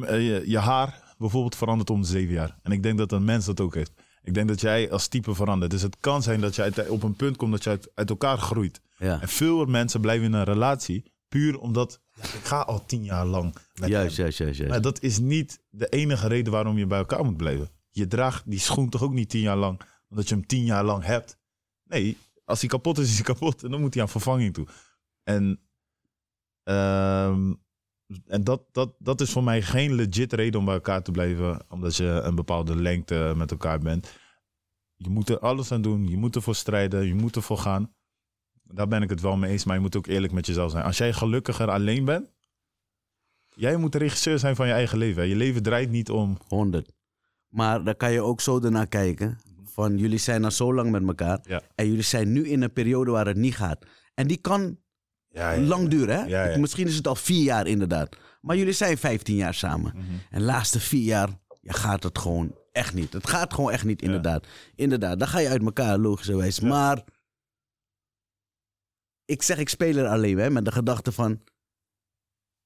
Speaker 2: eh, Je, je haar bijvoorbeeld verandert om de zeven jaar. En ik denk dat een mens dat ook heeft. Ik denk dat jij als type verandert. Dus het kan zijn dat je uit- op een punt komt dat je uit, uit elkaar groeit.
Speaker 1: Ja.
Speaker 2: En veel mensen blijven in een relatie puur omdat ja, ik ga al tien jaar lang met hem.
Speaker 1: Juist, juist, juist. juist.
Speaker 2: Maar dat is niet de enige reden waarom je bij elkaar moet blijven. Je draagt die schoen toch ook niet tien jaar lang, omdat je hem tien jaar lang hebt. Nee, als hij kapot is, is hij kapot en dan moet hij aan vervanging toe. En, ehm, en dat, dat, dat is voor mij geen legit reden om bij elkaar te blijven, omdat je een bepaalde lengte met elkaar bent. Je moet er alles aan doen, je moet ervoor strijden, je moet ervoor gaan. Daar ben ik het wel mee eens, maar je moet ook eerlijk met jezelf zijn. Als jij gelukkiger alleen bent, Jij moet de regisseur zijn van je eigen leven. hè. Je leven draait niet om.
Speaker 1: 100. Maar dan kan je ook zo ernaar kijken. Van jullie zijn al zo lang met elkaar.
Speaker 2: Ja.
Speaker 1: En jullie zijn nu in een periode waar het niet gaat. En die kan
Speaker 2: Ja, Mhm. ja,
Speaker 1: Lang duur, hè?
Speaker 2: Ja, ja.
Speaker 1: Ik- misschien is het al vier jaar inderdaad. Maar jullie zijn 15 jaar samen. En de laatste vier jaar ja, gaat het gewoon echt niet. Het gaat gewoon echt niet, inderdaad. Inderdaad, dan ga je uit elkaar, logischerwijs. Maar ik zeg, ik speel er alleen hè, met de gedachte van...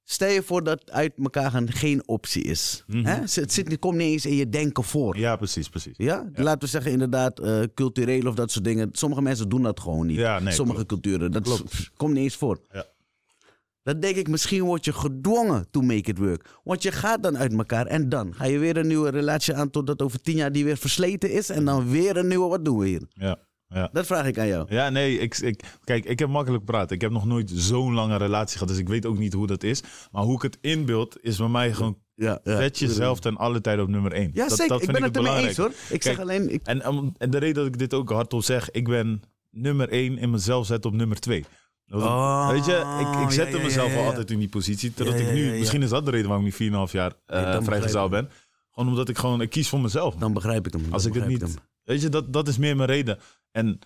Speaker 1: Stel je voor dat uit elkaar gaan geen optie is.
Speaker 2: Mhm.
Speaker 1: hè? Ze- Het zit, het komt niet eens in je denken voor. Ja,
Speaker 2: Ja, precies, precies.
Speaker 1: laten we zeggen inderdaad eh, cultureel of dat soort dingen. Sommige mensen doen dat gewoon niet.
Speaker 2: Ja, nee,
Speaker 1: Sommige culturen, dat is-
Speaker 2: Klopt.
Speaker 1: pff, komt niet eens voor.
Speaker 2: Ja.
Speaker 1: Dan denk ik, misschien word je gedwongen to make it work. Want je gaat dan uit elkaar en dan ga je weer een nieuwe relatie aan... totdat over tien jaar die weer versleten is en dan weer een nieuwe. Wat doen we hier?
Speaker 2: Ja, ja.
Speaker 1: Dat vraag ik aan jou.
Speaker 2: Ja, nee, ik, ik, kijk, ik heb makkelijk praten. Ik heb nog nooit zo'n lange relatie gehad, dus ik weet ook niet hoe dat is. Maar hoe ik het inbeeld, is bij mij gewoon,
Speaker 1: Ja, ja.
Speaker 2: zet jezelf ten alle tijde op nummer één.
Speaker 1: Ja,
Speaker 2: dat,
Speaker 1: zeker.
Speaker 2: dat
Speaker 1: ik
Speaker 2: vind
Speaker 1: ben het ermee eens
Speaker 2: belangrijk.
Speaker 1: hoor. Ik zeg
Speaker 2: Kijk,
Speaker 1: alleen... Ik,
Speaker 2: En, om- en de reden dat ik dit ook hardop zeg, ik ben nummer één in mezelf zet op nummer twee. Dat-
Speaker 1: Oh,
Speaker 2: weet je, ik, ik zette
Speaker 1: ja, ja,
Speaker 2: mezelf
Speaker 1: ja, ja.
Speaker 2: al altijd in die positie. Totdat
Speaker 1: Ja, ja,
Speaker 2: ik nu,
Speaker 1: ja, ja.
Speaker 2: misschien is dat de reden waarom ik nu 4,5 jaar eh,
Speaker 1: Nee, dan
Speaker 2: vrijgezel
Speaker 1: begrijp
Speaker 2: ben. Gewoon omdat ik gewoon, ik kies voor mezelf.
Speaker 1: dan begrijp ik hem. Dan
Speaker 2: Als ik het
Speaker 1: begrijp
Speaker 2: niet. Weet je, dat, dat is meer mijn reden. En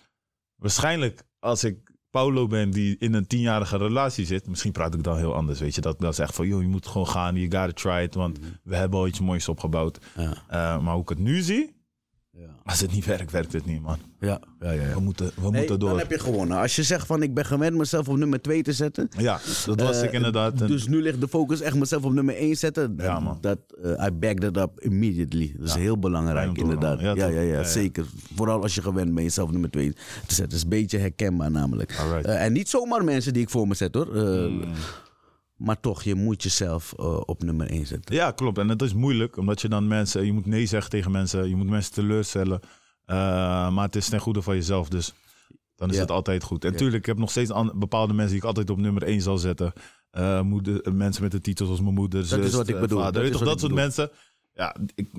Speaker 2: waarschijnlijk als ik Paulo ben die in een tienjarige relatie zit, misschien praat ik dan heel anders. Weet je, dat ik dan zeg van, joh, je moet gewoon gaan, you gotta try it, want we hebben al iets moois opgebouwd.
Speaker 1: hem.
Speaker 2: Eh, maar hoe ik het nu zie,
Speaker 1: Ja.
Speaker 2: als het niet werkt, werkt het niet, man.
Speaker 1: Ja. Ja, ja, ja.
Speaker 2: We moeten, we
Speaker 1: Nee,
Speaker 2: moeten
Speaker 1: Dan
Speaker 2: door.
Speaker 1: heb je gewonnen. Als je zegt van ik ben gewend mezelf op nummer 2 te zetten.
Speaker 2: Ja, dat was
Speaker 1: eh,
Speaker 2: ik inderdaad. En-
Speaker 1: Dus nu ligt de focus echt mezelf op nummer 1 zetten.
Speaker 2: Ja, man.
Speaker 1: Dat, eh, I back that up immediately. Dat is heel
Speaker 2: Fijn om
Speaker 1: belangrijk,
Speaker 2: te horen,
Speaker 1: inderdaad. Ja
Speaker 2: man.
Speaker 1: ja,
Speaker 2: Ja,
Speaker 1: ja,
Speaker 2: toch? Ja, ja.
Speaker 1: zeker. Vooral als je gewend bent jezelf op nummer 2 te zetten. Dat is een beetje herkenbaar namelijk.
Speaker 2: Alright.
Speaker 1: Eh, en niet zomaar mensen die ik voor me zet hoor. Eh,
Speaker 2: Mm.
Speaker 1: Maar toch, je moet jezelf eh, op nummer 1 zetten.
Speaker 2: Ja, klopt. En dat is moeilijk, omdat je dan mensen, je moet nee zeggen tegen mensen, je moet mensen teleurstellen. Eh, maar het is ten goede van jezelf, dus dan is
Speaker 1: Ja.
Speaker 2: het altijd goed. En
Speaker 1: Ja.
Speaker 2: tuurlijk, ik heb nog steeds an- bepaalde mensen die ik altijd op nummer 1 zal zetten. Eh, moeder, eh, mensen met de titels als mijn moeder,
Speaker 1: Dat is
Speaker 2: zus,
Speaker 1: wat ik
Speaker 2: eh,
Speaker 1: bedoel.
Speaker 2: vader.
Speaker 1: Dat
Speaker 2: Weet
Speaker 1: is
Speaker 2: toch,
Speaker 1: wat
Speaker 2: dat
Speaker 1: ik
Speaker 2: soort mensen, ja, ik,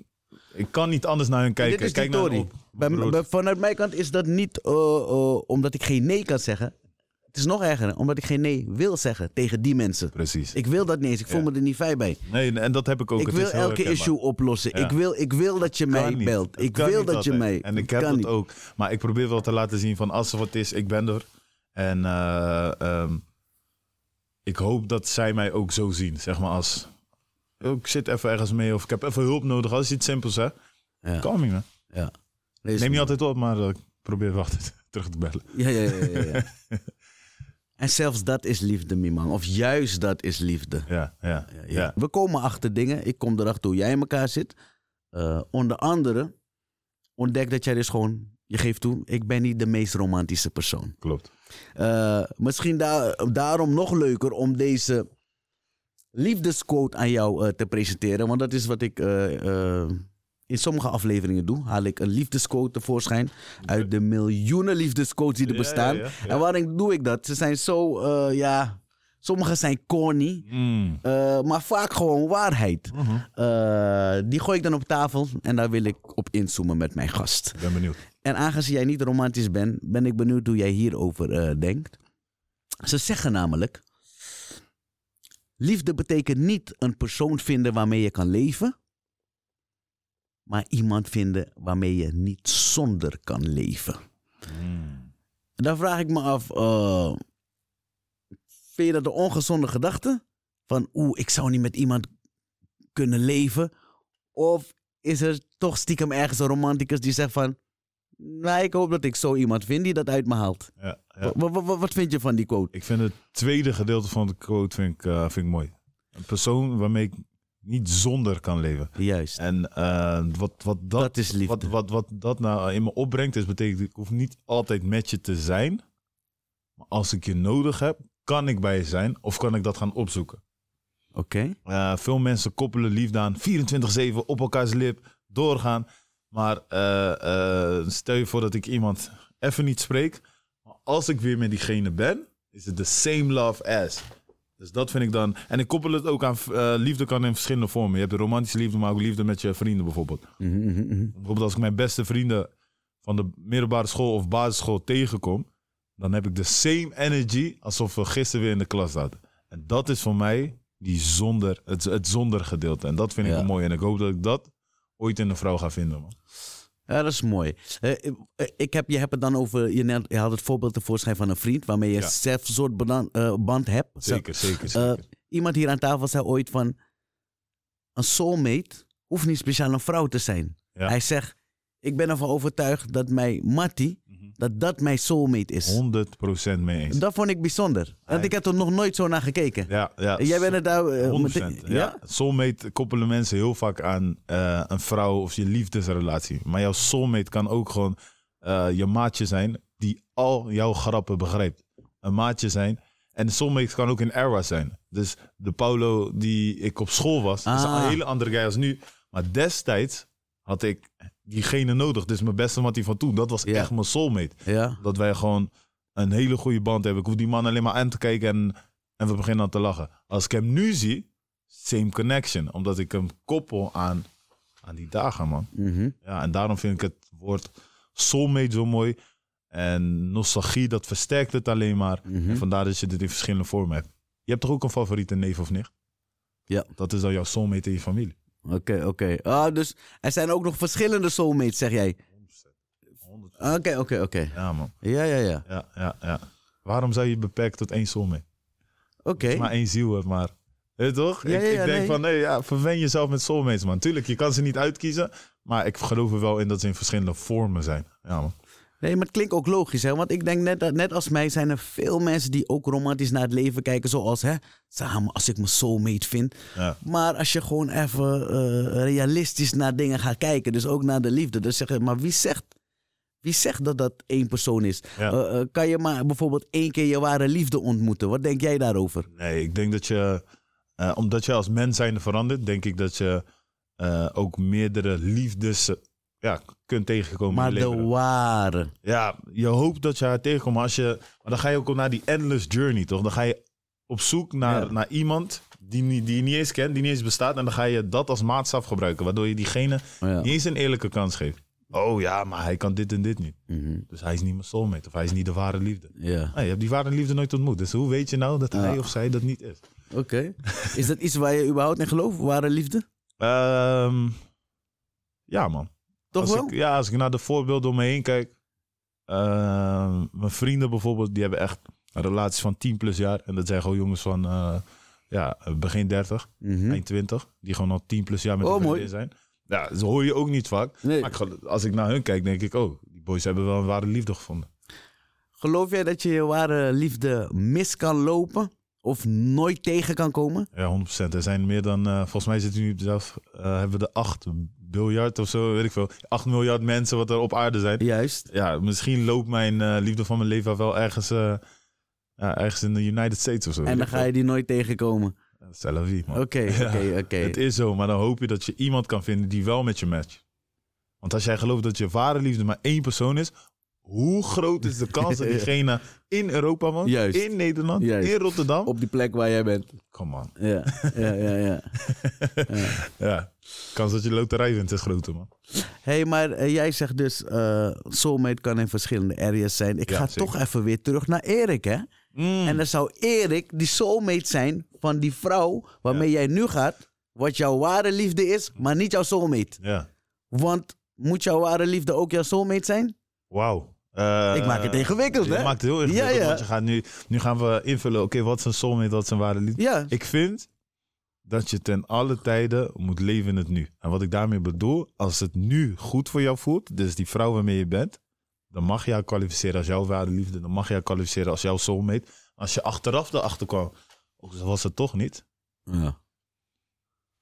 Speaker 2: ik kan niet anders naar hun kijken.
Speaker 1: Dit is
Speaker 2: Kijk
Speaker 1: de
Speaker 2: naar hun
Speaker 1: story.
Speaker 2: op,
Speaker 1: Bij-
Speaker 2: broer.
Speaker 1: bij- vanuit mijn kant is dat niet eh, eh, omdat ik geen nee kan zeggen. Het is nog erger, omdat ik geen nee wil zeggen tegen die mensen.
Speaker 2: Precies.
Speaker 1: Ik wil dat niet eens. Ik voel
Speaker 2: Ja.
Speaker 1: me er niet fijn bij.
Speaker 2: nee, en dat heb ik ook.
Speaker 1: Ik
Speaker 2: Het
Speaker 1: wil
Speaker 2: is heel
Speaker 1: elke
Speaker 2: herkenbaar.
Speaker 1: issue oplossen.
Speaker 2: Ja.
Speaker 1: Ik, wil, ik wil dat je mij
Speaker 2: Kan niet.
Speaker 1: belt.
Speaker 2: Het
Speaker 1: Ik
Speaker 2: kan
Speaker 1: wil
Speaker 2: niet
Speaker 1: dat je
Speaker 2: altijd.
Speaker 1: mij...
Speaker 2: En ik
Speaker 1: Het
Speaker 2: heb
Speaker 1: kan
Speaker 2: dat
Speaker 1: niet.
Speaker 2: ook. Maar ik probeer wel te laten zien van als er wat is, ik ben er. En eh, ehm, ik hoop dat zij mij ook zo zien. Zeg maar als "Oh, ik zit even ergens mee of ik heb even hulp nodig. Als iets simpels hè.
Speaker 1: Ja.
Speaker 2: Call me man.
Speaker 1: Ja. Nee, is
Speaker 2: Neem niet
Speaker 1: goed.
Speaker 2: altijd op, maar eh, ik probeer wel altijd terug te bellen.
Speaker 1: Ja, ja, ja. ja, ja. en zelfs dat is liefde, Mimang. Of juist dat is liefde.
Speaker 2: Ja, ja,
Speaker 1: Ja,
Speaker 2: ja.
Speaker 1: ja. We komen achter dingen. Ik kom erachter hoe jij in elkaar zit. Eh, onder andere ontdek dat jij dus gewoon... Je geeft toe, ik ben niet de meest romantische persoon.
Speaker 2: klopt.
Speaker 1: Eh, misschien da- daarom nog leuker om deze liefdesquote aan jou eh, te presenteren. Want dat is wat ik eh, eh, in sommige afleveringen doe. Haal ik een liefdesquote tevoorschijn uit de miljoenen liefdesquotes die er
Speaker 2: Ja,
Speaker 1: bestaan.
Speaker 2: ja, ja, ja.
Speaker 1: En waarom doe ik dat? Ze zijn zo, eh, ja, sommige zijn corny.
Speaker 2: Mm.
Speaker 1: eh, maar vaak gewoon waarheid.
Speaker 2: Mhm.
Speaker 1: Eh, die gooi ik dan op tafel en daar wil ik op inzoomen met mijn gast.
Speaker 2: Ik ben benieuwd.
Speaker 1: En aangezien jij niet romantisch bent, ben ik benieuwd hoe jij hierover eh, denkt. Ze zeggen namelijk: Liefde betekent niet een persoon vinden waarmee je kan leven, maar iemand vinden waarmee je niet zonder kan leven.
Speaker 2: Mm.
Speaker 1: Dan vraag ik me af: eh, Vind je dat een ongezonde gedachte? Van oeh, ik zou niet met iemand kunnen leven? Of is er toch stiekem ergens een romanticus die zegt van. Nou, ik hoop dat ik zo iemand vind die dat uit me haalt.
Speaker 2: Ja, ja.
Speaker 1: Wa- wa- wa- wat vind je van die quote?
Speaker 2: Ik vind het tweede gedeelte van de quote vind ik, eh, vind ik mooi. Een persoon waarmee ik niet zonder kan leven.
Speaker 1: Juist.
Speaker 2: En eh, wat, wat, dat,
Speaker 1: Dat is liefde.
Speaker 2: Wat, wat, wat dat nou in me opbrengt, is betekent ik hoef niet altijd met je te zijn. Maar als ik je nodig heb, kan ik bij je zijn of kan ik dat gaan opzoeken.
Speaker 1: Oké.
Speaker 2: Eh, veel mensen koppelen liefde aan 24-7 op elkaars lip, doorgaan. Maar eh, eh, stel je voor dat ik iemand even niet spreek. Maar als ik weer met diegene ben, is het the same love as. Dus dat vind ik dan. En ik koppel het ook aan. eh, liefde kan in verschillende vormen. Je hebt de romantische liefde, maar ook liefde met je vrienden bijvoorbeeld.
Speaker 1: Mhm, mhm, mhm.
Speaker 2: Bijvoorbeeld als ik mijn beste vrienden van de middelbare school of basisschool tegenkom, dan heb ik de same energy alsof we gisteren weer in de klas zaten. En dat is voor mij die zonder, het, het zonder gedeelte. En dat vind ik
Speaker 1: Ja.
Speaker 2: wel mooi. En ik hoop dat ik dat ooit in een vrouw ga vinden. Man.
Speaker 1: Ja, dat is mooi. Eh, eh, ik heb, je hebt het dan over, je, net- je had het voorbeeld tevoorschijn van een vriend waarmee je
Speaker 2: Ja.
Speaker 1: zelf een soort bedan- eh, band hebt.
Speaker 2: Zeker, zeker,
Speaker 1: Eh,
Speaker 2: zeker.
Speaker 1: iemand hier aan tafel zei ooit van, een soulmate hoeft niet speciaal een vrouw te zijn.
Speaker 2: Ja.
Speaker 1: Hij zegt, ik ben ervan overtuigd dat mijn mattie,
Speaker 2: Mhm.
Speaker 1: dat dat mijn soulmate is.
Speaker 2: 100% mee eens.
Speaker 1: Dat vond ik bijzonder. Want
Speaker 2: Hij-
Speaker 1: ik had er nog nooit zo naar gekeken.
Speaker 2: Ja, ja.
Speaker 1: En Jij bent het daar... eh,
Speaker 2: 100%.
Speaker 1: meteen-
Speaker 2: Ja. Soulmate koppelen mensen heel vaak aan eh, een vrouw of je liefdesrelatie. Maar jouw soulmate kan ook gewoon eh, je maatje zijn die al jouw grappen begrijpt. Een maatje zijn. En soulmate kan ook een era zijn. Dus de Paulo die ik op school was, is
Speaker 1: Ah.
Speaker 2: een hele andere guy als nu. Maar destijds had ik diegene nodig. Dus mijn beste mattie van toen, dat was
Speaker 1: Ja.
Speaker 2: echt mijn soulmate.
Speaker 1: Ja.
Speaker 2: Dat wij gewoon een hele goede band hebben. Ik hoef die man alleen maar aan te kijken en, en we beginnen aan te lachen. Als ik hem nu zie, same connection. Omdat ik hem koppel aan, aan die dagen, man.
Speaker 1: Mhm.
Speaker 2: Ja, en daarom vind ik het woord soulmate zo mooi. En nostalgie, dat versterkt het alleen maar.
Speaker 1: Mhm.
Speaker 2: En vandaar dat je dit in verschillende vormen hebt. Je hebt toch ook een favoriete neef of nicht?
Speaker 1: Ja.
Speaker 2: Dat is dan jouw soulmate in je familie.
Speaker 1: Oké, oké. Ah, dus er zijn ook nog verschillende soulmates, zeg jij. Oké, oké, oké.
Speaker 2: Ja, man.
Speaker 1: Ja, ja, ja.
Speaker 2: Ja, ja, ja. Waarom zou je je beperken tot één soulmate?
Speaker 1: Oké.
Speaker 2: maar één ziel hebt, maar. Weet je toch?
Speaker 1: Ja,
Speaker 2: ik,
Speaker 1: ja,
Speaker 2: ik
Speaker 1: ja,
Speaker 2: denk
Speaker 1: nee.
Speaker 2: van, nee, ja, verwen jezelf met soulmates, man. Tuurlijk, je kan ze niet uitkiezen, maar ik geloof er wel in dat ze in verschillende vormen zijn. Ja, man.
Speaker 1: Nee, maar het klinkt ook logisch, hè? Want ik denk net, dat- net als mij zijn er veel mensen die ook romantisch naar het leven kijken. Zoals, hè, samen als ik mijn soulmate vind.
Speaker 2: Ja.
Speaker 1: Maar als je gewoon even eh, realistisch naar dingen gaat kijken. Dus ook naar de liefde. Dus zeg, je, maar wie zegt, wie zegt dat dat één persoon is?
Speaker 2: Ja.
Speaker 1: Eh, eh, kan je maar bijvoorbeeld één keer je ware liefde ontmoeten? Wat denk jij daarover?
Speaker 2: Nee, ik denk dat je, eh, omdat je als mens zijnde verandert, denk ik dat je eh, ook meerdere liefdes eh, ja, kunt tegenkomen.
Speaker 1: Maar
Speaker 2: in je
Speaker 1: de
Speaker 2: leven.
Speaker 1: ware.
Speaker 2: Ja, je hoopt dat je haar tegenkomt. Maar, als je, maar dan ga je ook naar die endless journey, toch? Dan ga je op zoek naar,
Speaker 1: Ja.
Speaker 2: naar iemand die, niet- die je niet eens kent, die niet eens bestaat. En dan ga je dat als maatstaf gebruiken, waardoor je diegene
Speaker 1: Oh Ja.
Speaker 2: niet eens een eerlijke kans geeft. Oh ja, maar hij kan dit en dit niet.
Speaker 1: Mhm.
Speaker 2: Dus hij is niet mijn soulmate of hij is niet de ware liefde.
Speaker 1: Ja.
Speaker 2: Nee, je hebt die ware liefde nooit ontmoet. Dus hoe weet je nou dat
Speaker 1: Ja.
Speaker 2: hij of zij dat niet is?
Speaker 1: Oké. Is dat iets waar je überhaupt in gelooft? Ware liefde?
Speaker 2: Ehm, ja, man.
Speaker 1: Toch
Speaker 2: als
Speaker 1: wel?
Speaker 2: Ik, ja, als ik naar de voorbeelden om me heen kijk. ehm, mijn vrienden bijvoorbeeld, die hebben echt een relatie van 10 plus jaar. En dat zijn gewoon jongens van eh, ja, begin 30,
Speaker 1: Mhm.
Speaker 2: eind 20. Die gewoon al 10 plus jaar met
Speaker 1: Oh,
Speaker 2: elkaar
Speaker 1: mooi.
Speaker 2: vriendin zijn. Ja, ze hoor je ook niet vaak.
Speaker 1: Nee.
Speaker 2: Maar ik gel- als ik naar hun kijk, denk ik, oh, die boys hebben wel een ware liefde gevonden.
Speaker 1: Geloof jij dat je je ware liefde mis kan lopen? Of nooit tegen kan komen?
Speaker 2: Ja, 100%. Er zijn meer dan, eh, volgens mij zitten we nu zelf, eh, hebben we de 8 biljard of zo, weet ik veel. 8 miljard mensen wat er op aarde zijn.
Speaker 1: Juist.
Speaker 2: ja, misschien loopt mijn eh, liefde van mijn leven wel ergens, eh, ja, ergens in de United States of zo.
Speaker 1: En dan ga je die nooit tegenkomen.
Speaker 2: C'est la vie, man.
Speaker 1: Oké, oké, oké.
Speaker 2: Het is zo, maar dan hoop je dat je iemand kan vinden die wel met je matcht. Want als jij gelooft dat je ware liefde maar één persoon is, hoe groot is de kans dat diegene in Europa woont,
Speaker 1: Juist.
Speaker 2: in Nederland,
Speaker 1: Juist.
Speaker 2: in Rotterdam?
Speaker 1: Op die plek waar jij bent.
Speaker 2: Come on.
Speaker 1: Ja, ja, ja. ja.
Speaker 2: Ja, kans dat je loterij wint is groter, man.
Speaker 1: hey, maar eh, jij zegt dus, eh, soulmate kan in verschillende areas zijn. Ik
Speaker 2: Ja,
Speaker 1: ga
Speaker 2: zeker. Hmm.
Speaker 1: toch even weer terug naar Erik, hè? En dan zou Erik die soulmate zijn van die vrouw waarmee jij nu gaat. Wat jouw ware liefde is, maar niet jouw soulmate.
Speaker 2: Ja,
Speaker 1: Want moet jouw ware liefde ook jouw soulmate zijn?
Speaker 2: wauw. Eh,
Speaker 1: Ik maak het ingewikkeld,
Speaker 2: je
Speaker 1: hè?
Speaker 2: maakt het heel ingewikkeld,
Speaker 1: Ja, ja.
Speaker 2: want je gaat nu, nu gaan we invullen, oké, wat is een soulmate, wat is een ware liefde?
Speaker 1: Ja.
Speaker 2: Ik vind dat je ten alle tijden moet leven in het nu. En wat ik daarmee bedoel, als het nu goed voor jou voelt, dus die vrouw waarmee je bent, dan mag je haar kwalificeren als jouw ware liefde, dan mag je haar kwalificeren als jouw soulmate. Als je achteraf erachter kwam, oh, zo was het toch niet,
Speaker 1: Ja,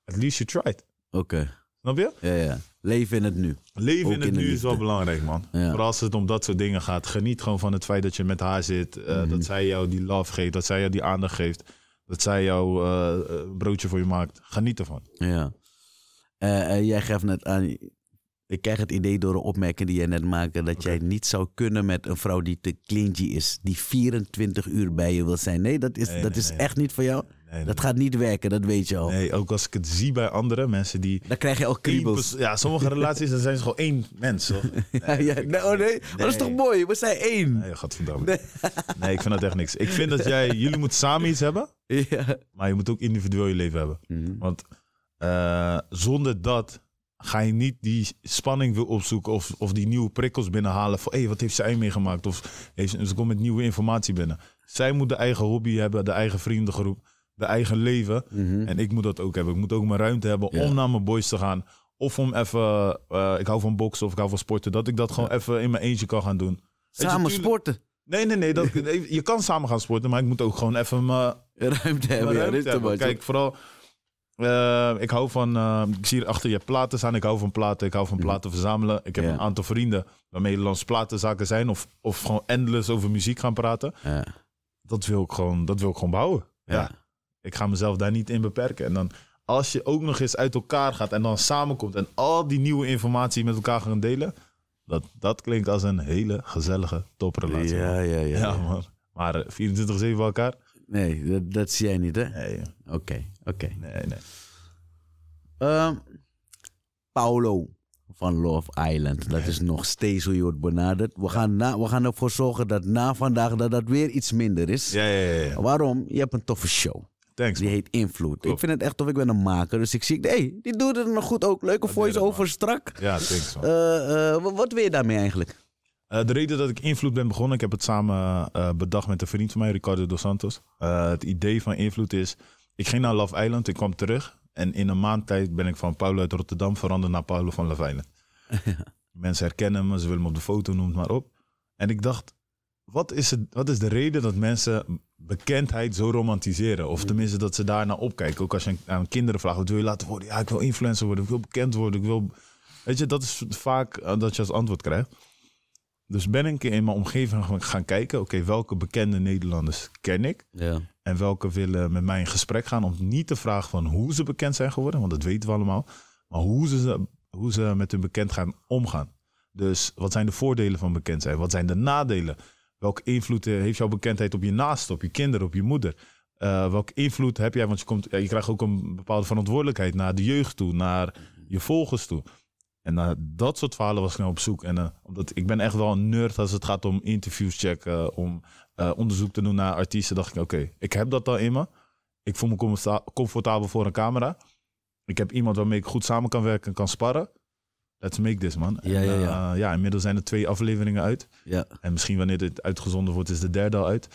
Speaker 2: at least you tried.
Speaker 1: oké.
Speaker 2: Snap je?
Speaker 1: Ja, ja. Leven in het nu.
Speaker 2: Leven
Speaker 1: Ook
Speaker 2: in het
Speaker 1: in de
Speaker 2: nu is wel
Speaker 1: liefde.
Speaker 2: belangrijk, man.
Speaker 1: Ja.
Speaker 2: Vooral als het om dat soort dingen gaat. Geniet gewoon van het feit dat je met haar zit. eh,
Speaker 1: Mhm.
Speaker 2: Dat zij jou die love geeft. Dat zij jou die aandacht geeft. Dat zij jou eh, een broodje voor je maakt. Geniet ervan.
Speaker 1: Ja. Eh, eh, jij gaf net aan... Ik krijg het idee door een opmerking die jij net maakte... dat jij niet zou kunnen met een vrouw die te clingy is. Die 24 uur bij je wil zijn. Nee, dat is,
Speaker 2: Nee,
Speaker 1: dat
Speaker 2: nee,
Speaker 1: is
Speaker 2: nee.
Speaker 1: echt niet voor jou.
Speaker 2: Nee,
Speaker 1: Dat gaat niet werken, dat weet je al.
Speaker 2: Nee, ook als ik het zie bij anderen, mensen die.
Speaker 1: Dan krijg je al kriebels.
Speaker 2: Eén pers- Ja, sommige relaties, dan zijn ze gewoon één mens. Hoor.
Speaker 1: Ja, ja. Nee, oh nee, maar dat is toch mooi? We zijn één.
Speaker 2: Nee, godverdamme. Nee. ik vind dat echt niks. Ik vind dat jij, jullie moeten samen iets hebben,
Speaker 1: Ja.
Speaker 2: Mhm. maar je moet ook individueel je leven hebben. Want eh, zonder dat ga je niet die spanning weer opzoeken of, of die nieuwe prikkels binnenhalen. Van, hé, wat heeft zij meegemaakt? Of heeft, ze- ze komt met nieuwe informatie binnen. Zij moet de eigen hobby hebben, de eigen vriendengroep, de eigen leven.
Speaker 1: Mhm.
Speaker 2: En ik moet dat ook hebben. Ik moet ook mijn ruimte hebben
Speaker 1: Ja.
Speaker 2: om naar mijn boys te gaan. Of om even, eh, ik hou van boksen of ik hou van sporten. Dat ik dat gewoon even in mijn eentje kan gaan doen. Weet je,
Speaker 1: Samen
Speaker 2: tuurlijk-
Speaker 1: sporten.
Speaker 2: Nee, nee, nee. Dat, nee, je kan samen gaan sporten, maar ik moet ook gewoon even mijn,
Speaker 1: Ruimte hebben.
Speaker 2: mijn
Speaker 1: ja,
Speaker 2: ruimte
Speaker 1: dit is te
Speaker 2: hebben.
Speaker 1: much.
Speaker 2: Kijk, vooral... eh, ik hou van... eh, ik zie hier achter je platen staan. Ik hou van platen. Ik hou van platen verzamelen. Ik
Speaker 1: Mhm.
Speaker 2: heb
Speaker 1: Ja.
Speaker 2: een aantal vrienden waarmee langs platenzaken zijn. Of, of gewoon endless over muziek gaan praten.
Speaker 1: Ja,
Speaker 2: Dat wil ik gewoon, dat wil ik gewoon behouden. Ja.
Speaker 1: ja.
Speaker 2: Ik ga mezelf daar niet in beperken. En dan als je ook nog eens uit elkaar gaat en dan samenkomt... en al die nieuwe informatie met elkaar gaan delen... dat, dat klinkt als een hele gezellige toprelatie.
Speaker 1: Ja, ja, ja.
Speaker 2: Ja, man. Maar eh, 24-7 bij elkaar?
Speaker 1: Nee, dat, dat zie jij niet, hè? Oké,
Speaker 2: Nee,
Speaker 1: oké.
Speaker 2: nee, nee.
Speaker 1: Ehm, Paulo van Love Island. Dat is nog steeds hoe je wordt benaderd. We gaan, na, we gaan ervoor zorgen dat na vandaag dat dat weer iets minder is.
Speaker 2: Ja, ja, ja, ja.
Speaker 1: Waarom? Je hebt een toffe show.
Speaker 2: Thanks.
Speaker 1: Die
Speaker 2: man.
Speaker 1: heet Invloed. Ik
Speaker 2: Klopt.
Speaker 1: vind het echt tof. Ik ben een maker. Dus ik zie, hé, hey, die doet het nog goed ook. Leuke
Speaker 2: deed het,
Speaker 1: voice-over,
Speaker 2: man.
Speaker 1: strak.
Speaker 2: Ja, thanks man.
Speaker 1: Eh, eh, wa- wat wil je daarmee eigenlijk?
Speaker 2: Eh, de reden dat ik invloed ben begonnen, ik heb het samen eh, bedacht met een vriend van mij, Ricardo dos Santos. Eh, het idee van invloed is, ik ging naar Love Island, ik kwam terug. En in een maand tijd ben ik van Paulo uit Rotterdam veranderd naar Paulo van Love Island. Mensen herkennen me, ze willen me op de foto, noem het maar op. En ik dacht, wat is, het, wat is de reden dat mensen bekendheid zo romantiseren? Of tenminste dat ze daarnaar opkijken. Ook als je aan- aan kinderen vraagt, wat wil je laten worden? Ja, ik wil influencer worden, ik wil bekend worden, ik wil... Weet je, dat is vaak eh, dat je als antwoord krijgt. Dus ben ik in mijn omgeving gaan- gaan kijken, oké, welke bekende Nederlanders ken ik?
Speaker 1: Ja.
Speaker 2: En welke willen met mij in gesprek gaan om niet te vragen van hoe ze bekend zijn geworden, want dat weten we allemaal. Maar hoe ze, hoe ze met hun bekend gaan omgaan. Dus wat zijn de voordelen van bekend zijn? Wat zijn de nadelen? Welke invloed eh, heeft jouw bekendheid op je naasten, op je kinderen, op je moeder? Eh, welke invloed heb jij? Want je, komt, ja, je krijgt ook een bepaalde verantwoordelijkheid naar de jeugd toe, naar je volgers toe. En naar dat soort verhalen was ik nou op zoek. En eh, omdat ik ben echt wel een nerd als het gaat om interviews checken, om eh, onderzoek te doen naar artiesten, dacht ik, oké, ik heb dat al in me. Ik voel me comforta- comfortabel voor een camera. Ik heb iemand waarmee ik goed samen kan werken en kan sparren. Let's make this, man.
Speaker 1: Ja,
Speaker 2: en,
Speaker 1: ja, ja.
Speaker 2: eh, ja, inmiddels zijn er twee afleveringen uit.
Speaker 1: ja.
Speaker 2: En misschien wanneer dit uitgezonden wordt, is de derde al uit.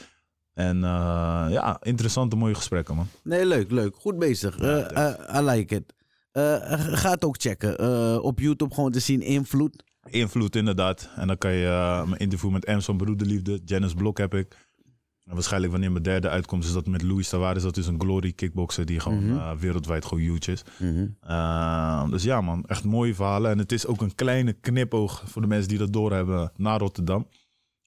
Speaker 2: En eh, ja, interessante, mooie gesprekken, man.
Speaker 1: Nee, leuk, leuk. Goed bezig. Eh
Speaker 2: Ja,
Speaker 1: eh, I like it. Eh, eh, ga het ook checken. Eh, op YouTube gewoon te zien Invloed.
Speaker 2: Invloed, inderdaad. En dan kan je eh, mijn interview met Ems van Broederliefde, Janice Blok heb ik. En waarschijnlijk wanneer mijn derde uitkomt, is dat met Louis Tavares. Dat is een glory kickboxer die gewoon
Speaker 1: Mhm.
Speaker 2: eh, wereldwijd gewoon huge is. Eh, dus ja, man, echt mooie verhalen. En het is ook een kleine knipoog voor de mensen die dat doorhebben naar Rotterdam.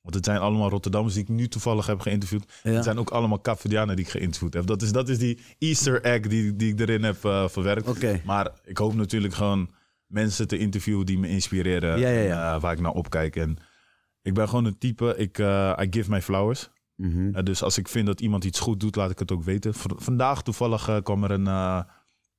Speaker 2: Want het zijn allemaal Rotterdammers die ik nu toevallig heb geïnterviewd.
Speaker 1: Ja.
Speaker 2: Het zijn ook allemaal Cafedianen die ik geïnterviewd heb. Dat is, dat is die Easter egg die, die ik erin heb eh, verwerkt.
Speaker 1: Oké.
Speaker 2: Maar ik hoop natuurlijk gewoon mensen te interviewen die me inspireren.
Speaker 1: Ja, ja, ja.
Speaker 2: en, eh, waar ik naar opkijk. En ik ben gewoon een type, ik, eh, I give my flowers.
Speaker 1: Mhm.
Speaker 2: Uh, dus als ik vind dat iemand iets goed doet, laat ik het ook weten. V- vandaag toevallig eh, kwam er een. eh,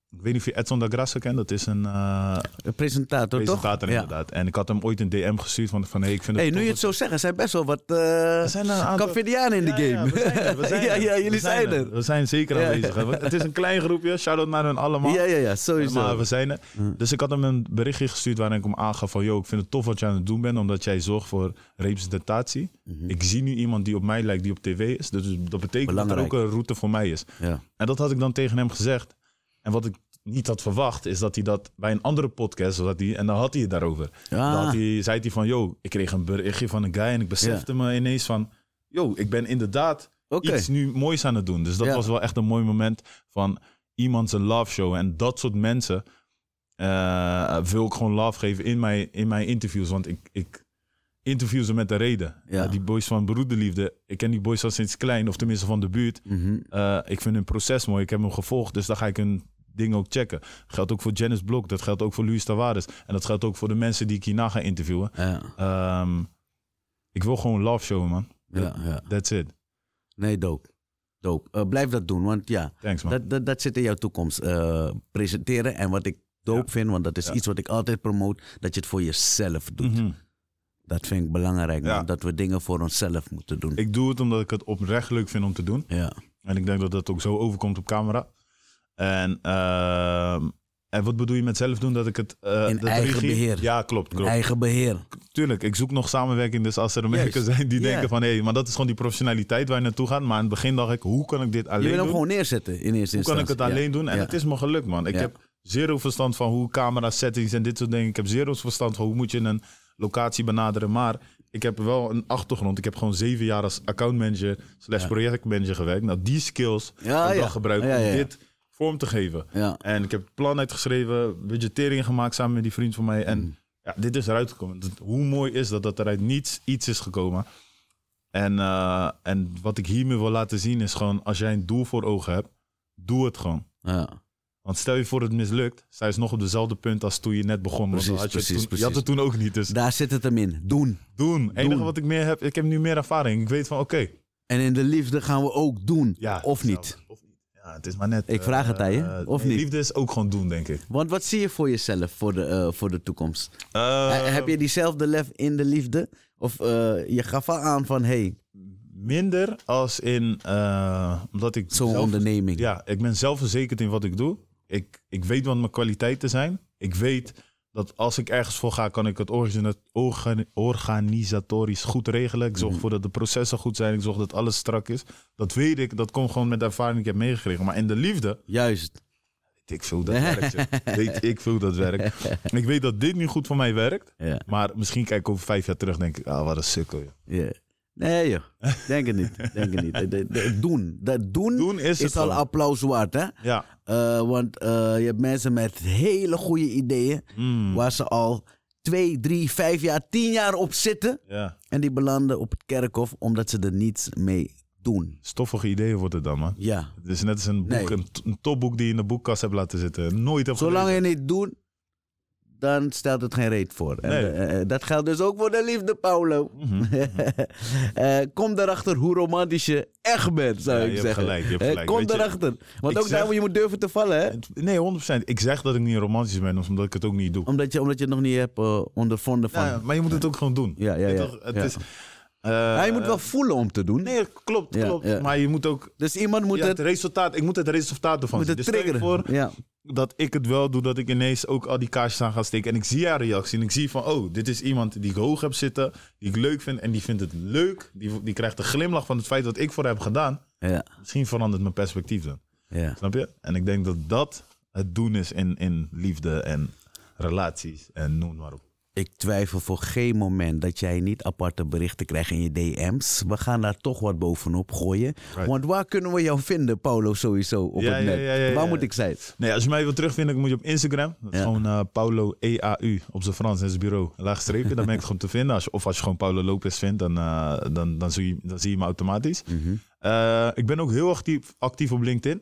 Speaker 2: ik weet niet of je Edson da Graça kent. Dat is een eh,
Speaker 1: Een presentator,
Speaker 2: presentator
Speaker 1: toch? Ja.
Speaker 2: inderdaad. En ik had hem ooit een DM gestuurd van, van hey, ik vind
Speaker 1: Hey,
Speaker 2: het
Speaker 1: nu
Speaker 2: tof
Speaker 1: je het
Speaker 2: dat-
Speaker 1: zo zegt, er zijn best wel wat eh
Speaker 2: zijn een aantal-
Speaker 1: Cavidianen in de
Speaker 2: Ja,
Speaker 1: game.
Speaker 2: Ja, we zijn er, we zijn
Speaker 1: ja,
Speaker 2: er.
Speaker 1: ja, jullie
Speaker 2: We
Speaker 1: zijn er.
Speaker 2: We zijn zeker
Speaker 1: Ja.
Speaker 2: aanwezig. hè. Het is een klein groepje. Shout-out naar hun allemaal.
Speaker 1: Ja, ja, ja, sowieso.
Speaker 2: Maar we zijn er. Dus ik had hem een berichtje gestuurd waarin ik hem aangaf van... ...joh, ik vind het tof wat jij aan het doen bent... ...omdat jij zorgt voor representatie.
Speaker 1: Mhm.
Speaker 2: Ik zie nu iemand die op mij lijkt, die op tv is. Dus dat betekent
Speaker 1: Belangrijk.
Speaker 2: dat er ook een route voor mij is.
Speaker 1: ja.
Speaker 2: En dat had ik dan tegen hem gezegd. En wat ik niet had verwacht, is dat hij dat bij een andere podcast had. Hij, en dan had hij het daarover.
Speaker 1: Ja.
Speaker 2: Dan had hij, zei hij van, yo, ik kreeg een berichtje van een guy en ik besefte me ineens van, yo, ik ben inderdaad
Speaker 1: Oké.
Speaker 2: iets nu moois aan het doen. Dus dat
Speaker 1: Ja.
Speaker 2: was wel echt een mooi moment van iemand zijn love show. En dat soort mensen eh, wil ik gewoon love geven in mijn, in mijn interviews. Want ik, ik interview ze met de reden.
Speaker 1: Ja.
Speaker 2: Ja, die boys van Broederliefde, ik ken die boys al sinds klein, of tenminste van de buurt.
Speaker 1: Mhm.
Speaker 2: Eh, ik vind hun proces mooi. Ik heb hem gevolgd, dus dan ga ik hun dingen ook checken. Geldt ook voor Janice Blok, dat geldt ook voor Luis Tavares. En dat geldt ook voor de mensen die ik hierna ga interviewen.
Speaker 1: Ja,
Speaker 2: Ehm, ik wil gewoon love showen, man.
Speaker 1: ja, ja.
Speaker 2: That's it.
Speaker 1: Nee, dope. Dope. Eh, blijf dat doen, want ja,
Speaker 2: Thanks, man.
Speaker 1: dat, dat, dat zit in jouw toekomst. eh, presenteren en wat ik dope vind, want dat is
Speaker 2: Ja.
Speaker 1: iets wat ik altijd promote, dat je het voor jezelf doet.
Speaker 2: Mhm.
Speaker 1: Dat vind ik belangrijk,
Speaker 2: Ja.
Speaker 1: man, dat we dingen voor onszelf moeten doen.
Speaker 2: Ik doe het omdat ik het oprecht leuk vind om te doen.
Speaker 1: Ja.
Speaker 2: En ik denk dat dat ook zo overkomt op camera. En, ehm, En wat bedoel je met zelf doen? Dat ik het... eh,
Speaker 1: In
Speaker 2: dat
Speaker 1: eigen beheer.
Speaker 2: Ja, klopt. klopt.
Speaker 1: Eigen beheer.
Speaker 2: Tuurlijk, ik zoek nog samenwerking. Dus als er mensen
Speaker 1: Juist.
Speaker 2: zijn die
Speaker 1: Ja.
Speaker 2: denken van... Hé, maar dat is gewoon die professionaliteit waar je naartoe gaat. Maar in het begin dacht ik, hoe kan ik dit
Speaker 1: je
Speaker 2: alleen
Speaker 1: wil hem
Speaker 2: doen?
Speaker 1: gewoon neerzetten in eerste instantie.
Speaker 2: Hoe kan ik het
Speaker 1: Ja.
Speaker 2: alleen doen? En
Speaker 1: Ja.
Speaker 2: het is me gelukt, man. Ik
Speaker 1: Ja.
Speaker 2: heb zero verstand van hoe camera settings en dit soort dingen. Ik heb zero verstand van hoe moet je een locatie benaderen. Maar ik heb wel een achtergrond. Ik heb gewoon zeven jaar als accountmanager slash projectmanager gewerkt. Nou, die skills
Speaker 1: Ja,
Speaker 2: heb ik
Speaker 1: ja.
Speaker 2: wel gebruikt
Speaker 1: Ja, ja, ja.
Speaker 2: om dit vorm te geven.
Speaker 1: Ja.
Speaker 2: En ik heb het plan uitgeschreven, budgettering gemaakt samen met die vriend van mij.
Speaker 1: Mm.
Speaker 2: En ja, dit is eruit gekomen. Dat- Hoe mooi is dat, dat er uit niets iets is gekomen. En, eh, en wat ik hiermee wil laten zien is gewoon, als jij een doel voor ogen hebt, doe het gewoon.
Speaker 1: Ja.
Speaker 2: Want stel je voor het mislukt, zij is nog op dezelfde punt als toen je net begon. want dan
Speaker 1: Precies,
Speaker 2: had je, het
Speaker 1: precies,
Speaker 2: toen, je had het toen ook niet, dus
Speaker 1: Daar zit het hem in. Doen.
Speaker 2: doen. Het enige wat ik meer heb, ik heb nu meer ervaring. Ik weet van, oké.
Speaker 1: En in de liefde gaan we ook doen.
Speaker 2: ja,
Speaker 1: of
Speaker 2: zelf,
Speaker 1: niet.
Speaker 2: Of niet. Ja, het is maar net.
Speaker 1: Ik vraag het aan je,
Speaker 2: eh,
Speaker 1: of
Speaker 2: nee,
Speaker 1: niet?
Speaker 2: Liefde is ook gewoon doen, denk ik.
Speaker 1: Want wat zie je voor jezelf voor de, eh, voor de toekomst?
Speaker 2: Eh,
Speaker 1: Eh, Heb je diezelfde lef in de liefde? Of eh, je gaf al aan van, hé, hey,
Speaker 2: Minder als in, eh, omdat ik
Speaker 1: zo'n
Speaker 2: zelf-
Speaker 1: onderneming.
Speaker 2: Ja, ik ben zelfverzekerd in wat ik doe. Ik, ik weet wat mijn kwaliteiten zijn. Ik weet dat als ik ergens voor ga, kan ik het origina- orga- organisatorisch goed regelen.
Speaker 1: Mhm.
Speaker 2: Ik zorg ervoor dat de processen goed zijn. Ik zorg dat alles strak is. Dat weet ik. Dat komt gewoon met de ervaring die ik heb meegekregen. Maar in de liefde,
Speaker 1: Juist.
Speaker 2: weet ik veel hoe dat werkt. joh. Weet ik veel hoe dat werkt. En ik weet dat dit nu goed voor mij werkt.
Speaker 1: Ja.
Speaker 2: Maar misschien kijk ik over vijf jaar terug denk ik, ah, wat een sukkel. joh.
Speaker 1: Ja. Nee joh, denk het niet. Denk het niet. De- de- de- doen. Dat doen,
Speaker 2: Doen is
Speaker 1: is,
Speaker 2: het
Speaker 1: al
Speaker 2: gewoon.
Speaker 1: applaus waard hè.
Speaker 2: Ja.
Speaker 1: Eh, want eh, je hebt mensen met hele goede ideeën.
Speaker 2: Mm.
Speaker 1: Waar ze al twee, drie, vijf jaar, tien jaar op zitten.
Speaker 2: ja.
Speaker 1: En die belanden op het kerkhof omdat ze er niets mee doen.
Speaker 2: Stoffige ideeën worden dan, man.
Speaker 1: Ja.
Speaker 2: Het is net als een, boek,
Speaker 1: Nee.
Speaker 2: een, t- een topboek die je in de boekkast hebt laten zitten. Nooit heb
Speaker 1: Zolang
Speaker 2: gelezen.
Speaker 1: je niet doet, dan stelt het geen reet voor. En,
Speaker 2: Nee.
Speaker 1: eh, eh, dat geldt dus ook voor de liefde, Paulo.
Speaker 2: Mhm.
Speaker 1: Eh, kom erachter hoe romantisch je echt bent, zou
Speaker 2: Ja,
Speaker 1: ik
Speaker 2: je hebt
Speaker 1: zeggen.
Speaker 2: gelijk, je hebt
Speaker 1: Eh,
Speaker 2: gelijk.
Speaker 1: Kom
Speaker 2: Weet je,
Speaker 1: erachter. Want
Speaker 2: ik
Speaker 1: ook
Speaker 2: zeg-
Speaker 1: daar moet je moet durven te vallen, hè?
Speaker 2: Het- Nee, 100%. Ik zeg dat ik niet romantisch ben, omdat ik het ook niet doe.
Speaker 1: Omdat je, omdat je het nog niet hebt eh, ondervonden van.
Speaker 2: Nou Ja, maar je moet het ook gewoon doen.
Speaker 1: Ja, ja,
Speaker 2: Je
Speaker 1: ja.
Speaker 2: toch, het
Speaker 1: Ja.
Speaker 2: Is, eh,
Speaker 1: Ja, je moet wel voelen om te doen.
Speaker 2: Nee, klopt,
Speaker 1: Ja,
Speaker 2: klopt.
Speaker 1: ja.
Speaker 2: Maar je moet ook...
Speaker 1: Dus iemand moet
Speaker 2: ja, het
Speaker 1: het,
Speaker 2: resultaat, ik moet het resultaat ervan
Speaker 1: moet
Speaker 2: zien.
Speaker 1: het
Speaker 2: Dus stel je
Speaker 1: triggeren.
Speaker 2: voor
Speaker 1: Ja.
Speaker 2: dat ik het wel doe, dat ik ineens ook al die kaarsjes aan ga steken. En ik zie haar reactie en ik zie van, oh, dit is iemand die ik hoog heb zitten, die ik leuk vind en die vindt het leuk. Die, die krijgt een glimlach van het feit wat ik voor haar heb gedaan.
Speaker 1: Ja.
Speaker 2: Misschien verandert mijn perspectief dan.
Speaker 1: Ja.
Speaker 2: Snap je? En ik denk dat dat het doen is in, in liefde en relaties en noem maar op.
Speaker 1: Ik twijfel voor geen moment dat jij niet aparte berichten krijgt in je DM's. We gaan daar toch wat bovenop gooien.
Speaker 2: Right.
Speaker 1: Want waar kunnen we jou vinden, Paulo, sowieso op
Speaker 2: Ja,
Speaker 1: het
Speaker 2: ja,
Speaker 1: net?
Speaker 2: ja, ja,
Speaker 1: waar
Speaker 2: ja.
Speaker 1: moet ik zijn?
Speaker 2: Nee, als je mij wil terugvinden, moet je op Instagram. Dat is
Speaker 1: Ja.
Speaker 2: gewoon eh, Paulo EAU op zijn Frans en zijn bureau. Laag streepje, dan ben ik gewoon te vinden. Als je, of als je gewoon Paulo Lopez vindt, dan, eh, dan, dan, zie, je, dan zie je me automatisch. Eh, ik ben ook heel actief, actief op LinkedIn.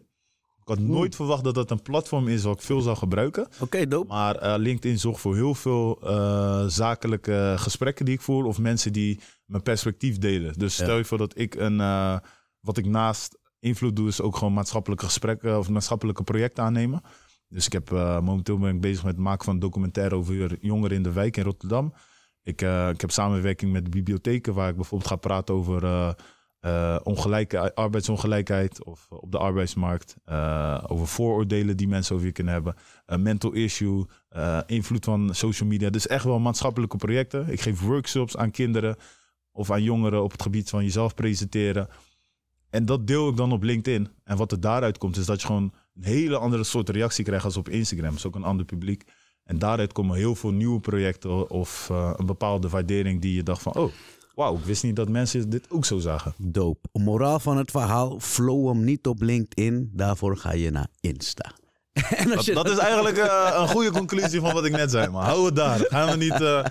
Speaker 2: Ik had nooit verwacht dat dat een platform is wat ik veel zou gebruiken.
Speaker 1: Oké, dope.
Speaker 2: Maar eh, LinkedIn zorgt voor heel veel eh, zakelijke gesprekken die ik voer. Of mensen die mijn perspectief delen. Dus stel je voor dat ik een. eh, wat ik naast invloed doe, is ook gewoon maatschappelijke gesprekken of maatschappelijke projecten aannemen. Dus ik heb eh, momenteel ben ik bezig met het maken van een documentaire over jongeren in de wijk in Rotterdam. Ik, eh, ik heb samenwerking met bibliotheken, waar ik bijvoorbeeld ga praten over eh, eh, ongelijke, arbeidsongelijkheid of op de arbeidsmarkt. eh, over vooroordelen die mensen over je kunnen hebben. Een mental issue, eh, invloed van social media. Dus echt wel maatschappelijke projecten. Ik geef workshops aan kinderen of aan jongeren op het gebied van jezelf presenteren. En dat deel ik dan op LinkedIn. En wat er daaruit komt, is dat je gewoon een hele andere soort reactie krijgt als op Instagram. Dat is ook een ander publiek. En daaruit komen heel veel nieuwe projecten of eh, een bepaalde waardering die je dacht van, oh, wauw, ik wist niet dat mensen dit ook zo zagen.
Speaker 1: Dope. Moraal van het verhaal, flow hem niet op LinkedIn. Daarvoor ga je naar Insta. En als
Speaker 2: Dat,
Speaker 1: je
Speaker 2: dat is eigenlijk eh, een goede conclusie van wat ik net zei, maar hou het daar. Gaan we niet... eh,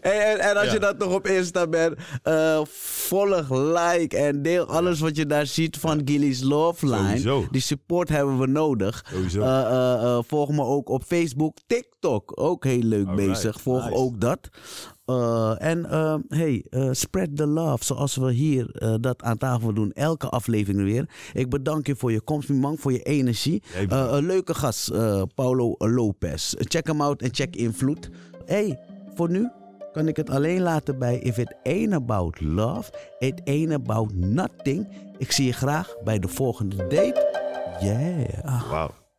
Speaker 1: En, en, en als
Speaker 2: Ja.
Speaker 1: je dat nog op Insta bent, eh, volg, like en deel alles wat je daar ziet van Gilly's Love Line.
Speaker 2: Sowieso.
Speaker 1: Die support hebben we nodig.
Speaker 2: Sowieso.
Speaker 1: Eh, eh, eh, volg me ook op Facebook, TikTok. Ook heel leuk
Speaker 2: Alright,
Speaker 1: bezig. Volg
Speaker 2: nice.
Speaker 1: ook dat. Eh, en eh, hey, eh, spread the love. Zoals we hier eh, dat aan tafel doen. Elke aflevering weer. Ik bedank je voor je komst, Mimang, voor je energie.
Speaker 2: Jij
Speaker 1: Eh, een leuke gast, eh, Paulo Lopez. Check hem out en check Invloed. Hey, voor nu kan ik het alleen laten bij If It Ain't About Love, It Ain't About Nothing. Ik zie je graag bij de volgende date. Yeah.
Speaker 2: wauw.